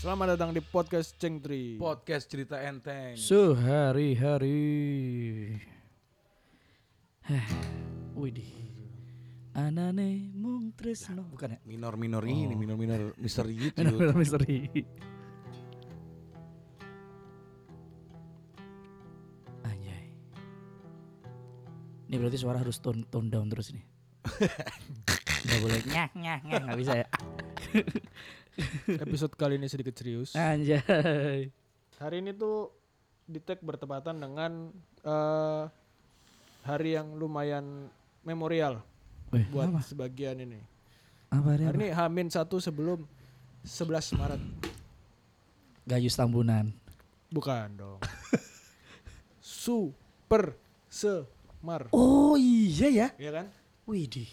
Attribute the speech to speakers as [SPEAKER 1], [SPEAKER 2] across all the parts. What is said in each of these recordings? [SPEAKER 1] Selamat datang di podcast Ceng Tri.
[SPEAKER 2] Podcast cerita enteng.
[SPEAKER 3] Sehari-hari. Heh, Widih. Anane mung tresno. Bukan ya?
[SPEAKER 2] Minor-minor ini, minor-minor misteri gitu.
[SPEAKER 3] Benar-benar misteri. Anjay. Ini berarti suara harus tone, tone down terus nih. Gak boleh nyah nyah nyah nggak bisa ya.
[SPEAKER 1] Episode kali ini sedikit serius.
[SPEAKER 3] Eh. Anjay.
[SPEAKER 1] Hari ini tuh di tag bertepatan dengan eh, hari yang lumayan memorial
[SPEAKER 3] Wih,
[SPEAKER 1] buat
[SPEAKER 3] apa?
[SPEAKER 1] sebagian ini.
[SPEAKER 3] Apa hari
[SPEAKER 1] Hari
[SPEAKER 3] apa?
[SPEAKER 1] ini Hamin satu sebelum 11 Maret.
[SPEAKER 3] Gayus Tambunan.
[SPEAKER 1] Bukan dong. Super Semar.
[SPEAKER 3] Oh iya ya.
[SPEAKER 1] Iya kan?
[SPEAKER 3] Widih.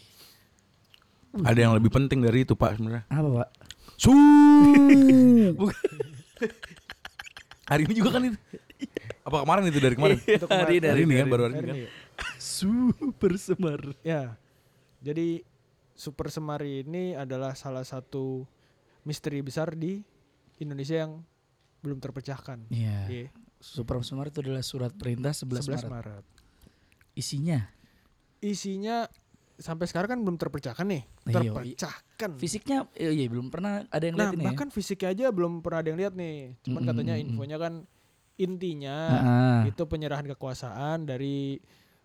[SPEAKER 2] Ada yang lebih penting dari itu Pak sebenarnya.
[SPEAKER 3] Apa pak?
[SPEAKER 2] Su. hari ini juga kan itu. Apa kemarin itu Iya. dari kemarin?
[SPEAKER 1] Itu kemarin.
[SPEAKER 3] Hari ini,
[SPEAKER 2] hari ini kan baru hari
[SPEAKER 1] Hari
[SPEAKER 2] ini kan.
[SPEAKER 1] ini.
[SPEAKER 3] Super semar.
[SPEAKER 1] Ya, jadi Super Semari ini adalah salah satu misteri besar di Indonesia yang belum terpecahkan.
[SPEAKER 3] Iya.
[SPEAKER 1] Iya,
[SPEAKER 3] Super semar itu adalah surat perintah 11,
[SPEAKER 1] 11 Maret.
[SPEAKER 3] Maret. Isinya
[SPEAKER 1] Isinya sampai sekarang kan belum terpecahkan nih.
[SPEAKER 3] Iya,
[SPEAKER 1] Terpecahkan.
[SPEAKER 3] fisiknya eh, iya belum pernah ada yang
[SPEAKER 1] Hmm. nah,
[SPEAKER 3] lihat ini ya.
[SPEAKER 1] bahkan fisiknya aja belum pernah ada yang lihat nih. Cuman
[SPEAKER 3] Mm-mm,
[SPEAKER 1] katanya
[SPEAKER 3] mm-mm.
[SPEAKER 1] infonya kan intinya
[SPEAKER 3] Ah,
[SPEAKER 1] itu penyerahan kekuasaan dari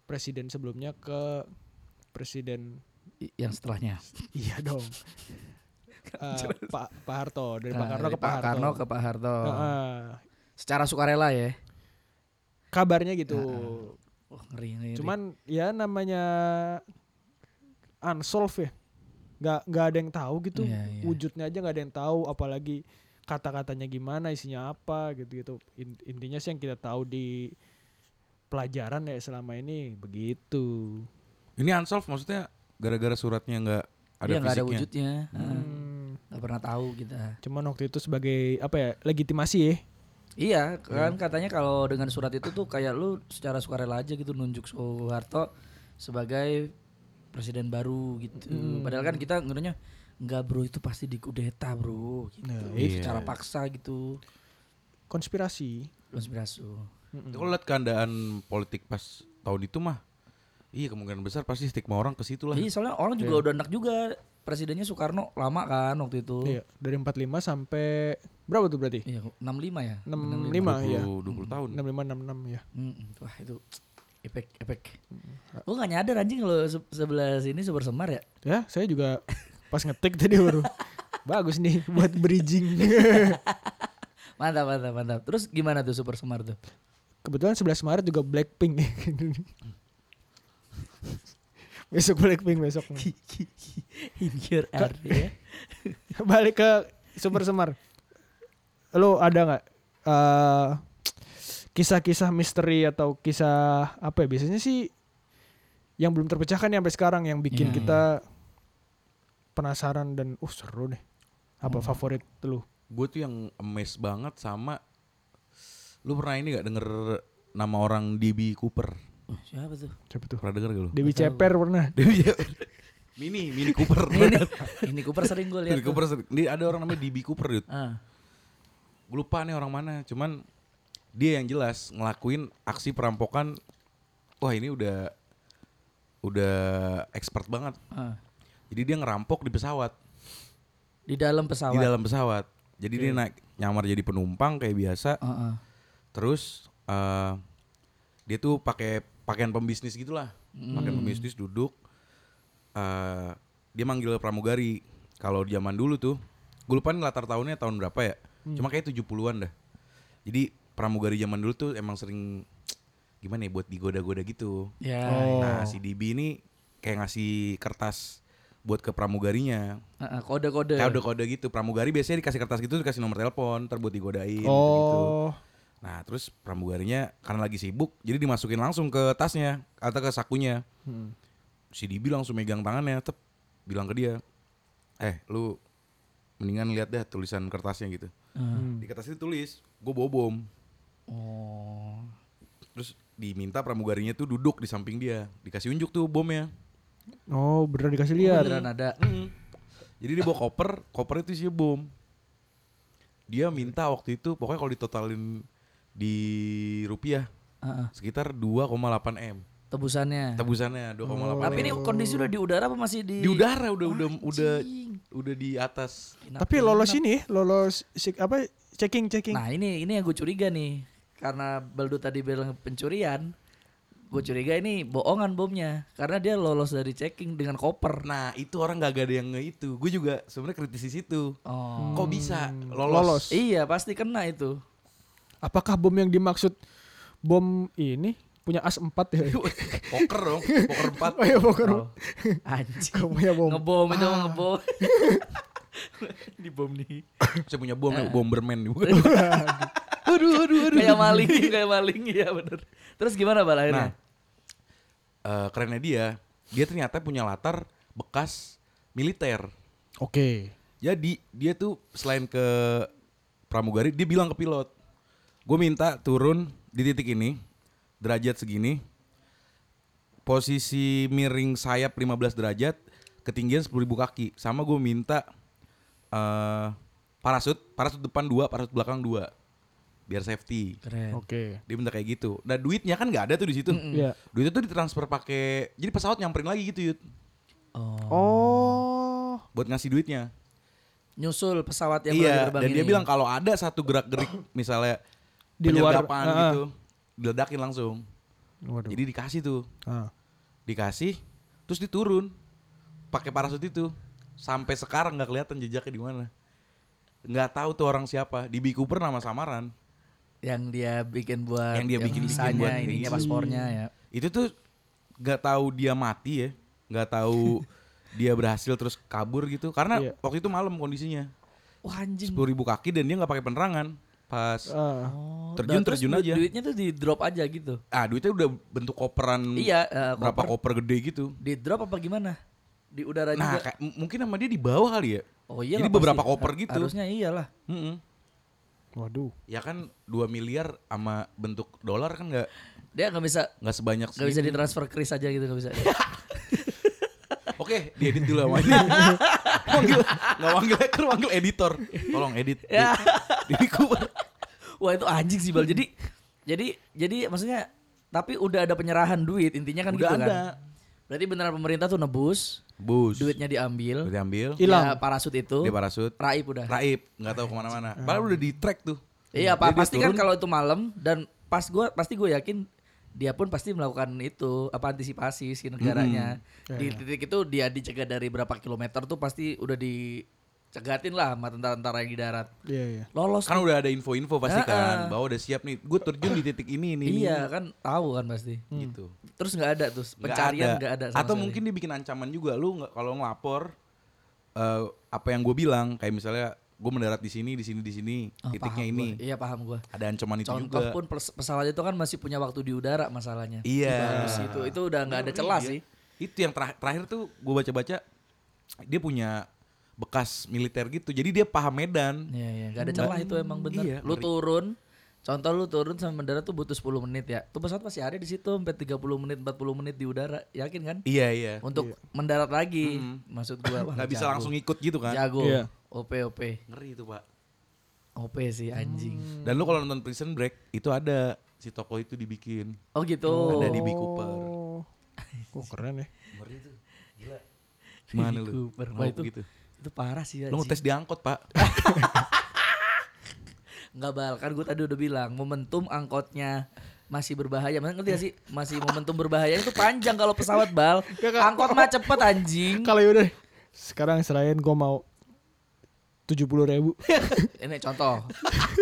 [SPEAKER 1] presiden sebelumnya ke presiden
[SPEAKER 3] i- yang setelahnya.
[SPEAKER 1] Iya dong. Eh, Pak Pak Harto dari Pak
[SPEAKER 3] Nah,
[SPEAKER 1] Karno ke
[SPEAKER 3] dari
[SPEAKER 1] Pak Harto. Ah,
[SPEAKER 3] Karno ke Pak Harto.
[SPEAKER 1] Heeh.
[SPEAKER 3] Secara sukarela ya.
[SPEAKER 1] kabarnya gitu.
[SPEAKER 3] Wah, ngeri, ngeri. ngeri.
[SPEAKER 1] Cuman ya namanya unsolved ya. Nggak nggak ada yang tahu gitu.
[SPEAKER 3] Iya, iya.
[SPEAKER 1] Wujudnya aja nggak ada yang tahu apalagi kata-katanya gimana, isinya apa gitu-gitu. In- intinya sih yang kita tahu di pelajaran ya selama ini begitu.
[SPEAKER 2] kan? Ini unsolved maksudnya gara-gara suratnya nggak ada
[SPEAKER 3] Iya, nggak ada
[SPEAKER 2] fisiknya.
[SPEAKER 3] wujudnya. Heeh,
[SPEAKER 1] Hmm,
[SPEAKER 3] nggak pernah tahu kita.
[SPEAKER 1] Cuman waktu itu sebagai apa ya? legitimasi ya.
[SPEAKER 3] Iya, kan katanya kalau dengan surat itu tuh kayak lu secara sukarela aja gitu nunjuk Soeharto sebagai presiden baru gitu.
[SPEAKER 1] Hmm.
[SPEAKER 3] Padahal kan kita ngerinya nggak bro itu pasti dikudeta bro gitu.
[SPEAKER 1] Nah,
[SPEAKER 3] Itu
[SPEAKER 2] iya.
[SPEAKER 3] Secara paksa gitu.
[SPEAKER 1] Konspirasi.
[SPEAKER 3] Konspirasi.
[SPEAKER 2] Kalau lihat keadaan politik pas tahun itu mah, iya kemungkinan besar pasti stigma orang ke situ lah. Iya.
[SPEAKER 3] Jadi Iya, soalnya orang juga udah enak juga presidennya Soekarno lama kan waktu itu.
[SPEAKER 1] Iya, dari 45 sampai berapa tuh berarti?
[SPEAKER 3] Iya, 65 ya.
[SPEAKER 1] 65 ya.
[SPEAKER 2] 20, 20 tahun.
[SPEAKER 1] 65 66 ya.
[SPEAKER 3] Mm-mm. Wah, itu efek efek. Gua gak nyadar anjing kalau se- sebelah sini super semar ya.
[SPEAKER 1] Ya, saya juga pas ngetik tadi baru. Bagus nih buat bridging.
[SPEAKER 3] Mantap, mantap, mantap. Terus gimana tuh super semar tuh?
[SPEAKER 1] Kebetulan 11 Maret juga Blackpink nih. besok Blackpink besok. nih.
[SPEAKER 2] Hmm.
[SPEAKER 3] In your ya? area.
[SPEAKER 1] Balik ke Super Semar. Lo ada nggak eh, kisah-kisah misteri atau kisah apa ya? Biasanya sih yang belum terpecahkan nih sampai sekarang yang bikin
[SPEAKER 3] Iya,
[SPEAKER 1] kita penasaran dan uh seru deh. Apa favorit lu?
[SPEAKER 2] Gue tuh yang amazed banget sama lu pernah ini nggak denger nama orang DB Cooper?
[SPEAKER 3] Oh, siapa tuh?
[SPEAKER 1] Siapa tuh?
[SPEAKER 2] Pernah denger gak lu?
[SPEAKER 1] Dewi Ceper pernah.
[SPEAKER 2] Dewi Mini, Mini Cooper.
[SPEAKER 3] Ini, ini Cooper sering gue lihat.
[SPEAKER 2] Mini Cooper. Dia ada orang namanya DB Cooper, dude.
[SPEAKER 3] Ah,
[SPEAKER 2] Gue lupa nih orang mana, cuman dia yang jelas ngelakuin aksi perampokan. Wah, ini udah udah expert banget.
[SPEAKER 3] ah.
[SPEAKER 2] Jadi dia ngerampok di pesawat,
[SPEAKER 3] Di dalam
[SPEAKER 2] di
[SPEAKER 3] pesawat.
[SPEAKER 2] dalam pesawat. Jadi dia naik nyamar jadi penumpang kayak biasa.
[SPEAKER 3] Ah, ah.
[SPEAKER 2] Terus eh, dia tuh pakai pakaian pembisnis gitulah, pakaian pembisnis duduk. Eh, dia manggil pramugari. Kalau zaman dulu tuh, gue lupa nih latar tahunnya tahun berapa ya. Cuma kayak 70-an dah. Jadi pramugari zaman dulu tuh emang sering gimana ya buat digoda-goda gitu.
[SPEAKER 3] Ya.
[SPEAKER 2] Nah, si DB ini kayak ngasih kertas buat ke pramugarinya.
[SPEAKER 3] Ah, ah, Kode-kode.
[SPEAKER 2] Kayak kode-kode gitu. Pramugari biasanya dikasih kertas gitu dikasih nomor telepon, terbuat digodain gitu.
[SPEAKER 1] Oh.
[SPEAKER 2] Nah terus pramugarinya karena lagi sibuk jadi dimasukin langsung ke tasnya atau ke sakunya.
[SPEAKER 1] Hmm.
[SPEAKER 2] Si Dibi langsung megang tangannya tep bilang ke dia, eh lu mendingan lihat dah tulisan kertasnya gitu.
[SPEAKER 1] Hmm.
[SPEAKER 2] Di kertas itu tulis gue bawa bom.
[SPEAKER 3] Oh.
[SPEAKER 2] Terus diminta pramugarinya tuh duduk di samping dia dikasih unjuk tuh bomnya.
[SPEAKER 1] Oh, beneran dikasih lihat. Hmm.
[SPEAKER 3] Beneran ada.
[SPEAKER 2] Mm. Jadi dia bawa koper, koper itu isinya bom. dia minta waktu itu pokoknya kalau ditotalin di rupiah
[SPEAKER 3] Heeh.
[SPEAKER 2] sekitar 2,8 m
[SPEAKER 3] Ah, Tebusannya.
[SPEAKER 2] tebusannya 2,8 m.
[SPEAKER 3] Oh, Tapi ini kondisi udah di udara apa masih di
[SPEAKER 2] di udara udah udah udah
[SPEAKER 3] Anjing.
[SPEAKER 2] udah di atas
[SPEAKER 1] Tapi lolos ini, lolos sik- apa checking checking.
[SPEAKER 3] Nah ini ini yang gue curiga nih karena Baldo tadi bilang pencurian, gue curiga ini bohongan bomnya karena dia lolos dari checking dengan koper.
[SPEAKER 2] nah itu orang gak, ada yang nge itu gue juga sebenarnya kritisi situ
[SPEAKER 3] Oh
[SPEAKER 2] kok bisa
[SPEAKER 1] Lolos.
[SPEAKER 2] lolos,
[SPEAKER 3] iya pasti kena itu.
[SPEAKER 1] Apakah bom yang dimaksud bom ini punya as 4 ya?
[SPEAKER 2] poker dong poker empat
[SPEAKER 1] oh iya poker.
[SPEAKER 3] Oh, anjing.
[SPEAKER 1] Kamu punya bom.
[SPEAKER 3] Ngebom itu mah ngebom. Di bom nih.
[SPEAKER 2] saya punya bom
[SPEAKER 3] Nah.
[SPEAKER 2] nih, bomberman juga
[SPEAKER 3] aduh aduh aduh. Kayak maling kayak maling ya bener. Terus gimana bal akhirnya?
[SPEAKER 2] Nah, eh, kerennya dia, dia ternyata punya latar bekas militer.
[SPEAKER 1] Oke.
[SPEAKER 2] Jadi dia tuh selain ke pramugari, dia bilang ke pilot, gue minta turun di titik ini, derajat segini, posisi miring sayap 15 derajat, ketinggian 10.000 kaki. Sama gue minta eh parasut, parasut depan dua, parasut belakang dua, biar safety.
[SPEAKER 3] Keren.
[SPEAKER 1] Oke.
[SPEAKER 2] Dia minta kayak gitu. Nah duitnya kan nggak ada tuh di situ.
[SPEAKER 1] Iya.
[SPEAKER 2] Duitnya tuh ditransfer pakai jadi pesawat nyamperin lagi gitu Yud
[SPEAKER 3] Oh.
[SPEAKER 1] Oh.
[SPEAKER 2] buat ngasih duitnya.
[SPEAKER 3] Nyusul pesawat yang
[SPEAKER 2] iya,
[SPEAKER 3] bergerbang
[SPEAKER 2] dan
[SPEAKER 3] ini.
[SPEAKER 2] dia bilang kalau ada satu gerak-gerik misalnya
[SPEAKER 1] Di luar,
[SPEAKER 2] penyergapan
[SPEAKER 1] ah.
[SPEAKER 2] gitu, diledakin langsung.
[SPEAKER 1] Waduh.
[SPEAKER 2] Jadi dikasih tuh,
[SPEAKER 1] Ah.
[SPEAKER 2] dikasih terus diturun pakai parasut itu. Sampai sekarang nggak kelihatan jejaknya di mana. Nggak tahu tuh orang siapa. Di Biku Cooper nama samaran.
[SPEAKER 3] yang dia bikin buat
[SPEAKER 2] Yang dia bikin- bikin
[SPEAKER 3] bisanya
[SPEAKER 2] buat
[SPEAKER 3] ininya
[SPEAKER 2] ini.
[SPEAKER 3] paspornya ya.
[SPEAKER 2] Itu tuh nggak tahu dia mati ya, nggak tahu dia berhasil terus kabur gitu. Karena
[SPEAKER 1] Iya.
[SPEAKER 2] waktu itu malam kondisinya.
[SPEAKER 3] Wah anjing.
[SPEAKER 2] sepuluh ribu kaki dan dia nggak pakai penerangan pas
[SPEAKER 1] Ah.
[SPEAKER 3] Oh,
[SPEAKER 2] Terjun,
[SPEAKER 3] dan terus
[SPEAKER 2] terjun
[SPEAKER 3] du-
[SPEAKER 2] aja.
[SPEAKER 3] Duitnya tuh di drop aja gitu.
[SPEAKER 2] ah duitnya udah bentuk koperan
[SPEAKER 3] Iya, eh,
[SPEAKER 2] Hmm. berapa
[SPEAKER 3] koper.
[SPEAKER 2] koper gede gitu
[SPEAKER 3] Di drop apa gimana? Di
[SPEAKER 2] nah
[SPEAKER 3] udara Eh, juga.
[SPEAKER 2] kayak- m- mungkin sama dia di bawah kali ya
[SPEAKER 3] Oh iya.
[SPEAKER 2] jadi
[SPEAKER 3] lah,
[SPEAKER 2] beberapa
[SPEAKER 3] pasti.
[SPEAKER 2] koper
[SPEAKER 3] Ha-
[SPEAKER 2] gitu
[SPEAKER 3] Harusnya iyalah.
[SPEAKER 2] Mm-mm.
[SPEAKER 1] Waduh.
[SPEAKER 2] ya kan 2 miliar sama bentuk dolar kan nggak
[SPEAKER 3] Dia nggak bisa
[SPEAKER 2] nggak sebanyak
[SPEAKER 3] nggak bisa
[SPEAKER 2] segini.
[SPEAKER 3] ditransfer Chris aja gitu nggak bisa.
[SPEAKER 2] oke diedit dulu sama dia manggil nggak manggil hacker manggil editor tolong edit
[SPEAKER 3] Ya.
[SPEAKER 2] di, di Cooper.
[SPEAKER 3] Wah itu anjing sih bal. Jadi jadi jadi maksudnya tapi udah ada penyerahan duit intinya kan
[SPEAKER 2] Udah
[SPEAKER 3] gitu
[SPEAKER 2] ada.
[SPEAKER 3] kan. Berarti beneran pemerintah tuh nebus,
[SPEAKER 2] bus
[SPEAKER 3] duitnya diambil,
[SPEAKER 2] Udah diambil
[SPEAKER 1] Hilang.
[SPEAKER 3] ya, parasut itu,
[SPEAKER 2] dia parasut
[SPEAKER 3] raib udah.
[SPEAKER 2] raib nggak tahu kemana-mana padahal udah di track tuh
[SPEAKER 3] Ah. Iya,
[SPEAKER 2] Jadi
[SPEAKER 3] pa-
[SPEAKER 2] dia
[SPEAKER 3] pasti kan
[SPEAKER 2] turun,
[SPEAKER 3] kalau itu malam dan pas gua pasti gue yakin dia pun pasti melakukan itu apa antisipasi si negaranya. Di titik itu dia dicegah dari berapa kilometer tuh pasti udah dicegatin lah sama tentara-tentara yang di darat.
[SPEAKER 1] Iya iya.
[SPEAKER 3] Lolos.
[SPEAKER 2] kan udah ada info-info pasti
[SPEAKER 3] Ah,
[SPEAKER 2] kan
[SPEAKER 3] ah.
[SPEAKER 2] bahwa udah siap nih gue terjun di titik ini ini ini,
[SPEAKER 3] iya kan tahu kan pasti.
[SPEAKER 2] gitu
[SPEAKER 3] Terus nggak ada tuh
[SPEAKER 2] Nggak
[SPEAKER 3] pencarian nggak ada. sama
[SPEAKER 2] atau
[SPEAKER 3] sekali.
[SPEAKER 2] mungkin dia bikin ancaman juga lu nggak kalau ngelapor eh, apa yang gue bilang kayak misalnya gue mendarat di sini di sini di sini
[SPEAKER 3] Oh,
[SPEAKER 2] titiknya
[SPEAKER 3] paham
[SPEAKER 2] ini
[SPEAKER 3] gua. Iya paham gue.
[SPEAKER 2] ada ancaman itu
[SPEAKER 3] Contoh
[SPEAKER 2] juga
[SPEAKER 3] pun pers- pesawat itu kan masih punya waktu di udara masalahnya.
[SPEAKER 2] Iya.
[SPEAKER 3] Bagus itu itu udah nggak ada celah sih.
[SPEAKER 2] itu yang terakhir, terakhir tuh gue baca-baca dia punya bekas militer gitu jadi dia paham medan
[SPEAKER 3] Iya iya, gak ada celah itu emang bener.
[SPEAKER 2] Iya,
[SPEAKER 3] lu turun, contoh lu turun sama mendarat tuh butuh 10 menit ya. Tuh pesawat masih ada di situ sampai 30 menit, 40 menit di udara, yakin kan?
[SPEAKER 2] iya iya
[SPEAKER 3] Untuk mendarat lagi, maksud gua. wah,
[SPEAKER 2] nggak bisa
[SPEAKER 3] jago.
[SPEAKER 2] langsung ikut gitu kan
[SPEAKER 3] Jago.
[SPEAKER 1] Iya.
[SPEAKER 3] OP OP.
[SPEAKER 2] ngeri itu pak
[SPEAKER 3] OP sih
[SPEAKER 2] Hmm.
[SPEAKER 3] anjing.
[SPEAKER 2] dan lu kalau nonton Prison Break itu ada si toko itu dibikin
[SPEAKER 3] Oh gitu.
[SPEAKER 2] ada di Big Cooper
[SPEAKER 1] Oh. Kok keren ya.
[SPEAKER 2] Mana
[SPEAKER 3] Di
[SPEAKER 2] lu?
[SPEAKER 3] Cooper.
[SPEAKER 2] Mau
[SPEAKER 3] Wah, itu,
[SPEAKER 2] begitu.
[SPEAKER 3] itu parah
[SPEAKER 2] Lu
[SPEAKER 3] sih anjing.
[SPEAKER 2] ngetes diangkot, Pak.
[SPEAKER 3] Nggak bal, kan gue tadi udah bilang momentum angkotnya masih berbahaya. Maksudnya ngerti gak sih? Masih momentum berbahaya itu panjang kalau pesawat bal.
[SPEAKER 1] Nggak, nggak.
[SPEAKER 3] Angkot mah cepet anjing.
[SPEAKER 1] Kalau yaudah sekarang serain gue mau tujuh puluh ribu.
[SPEAKER 3] Ini contoh.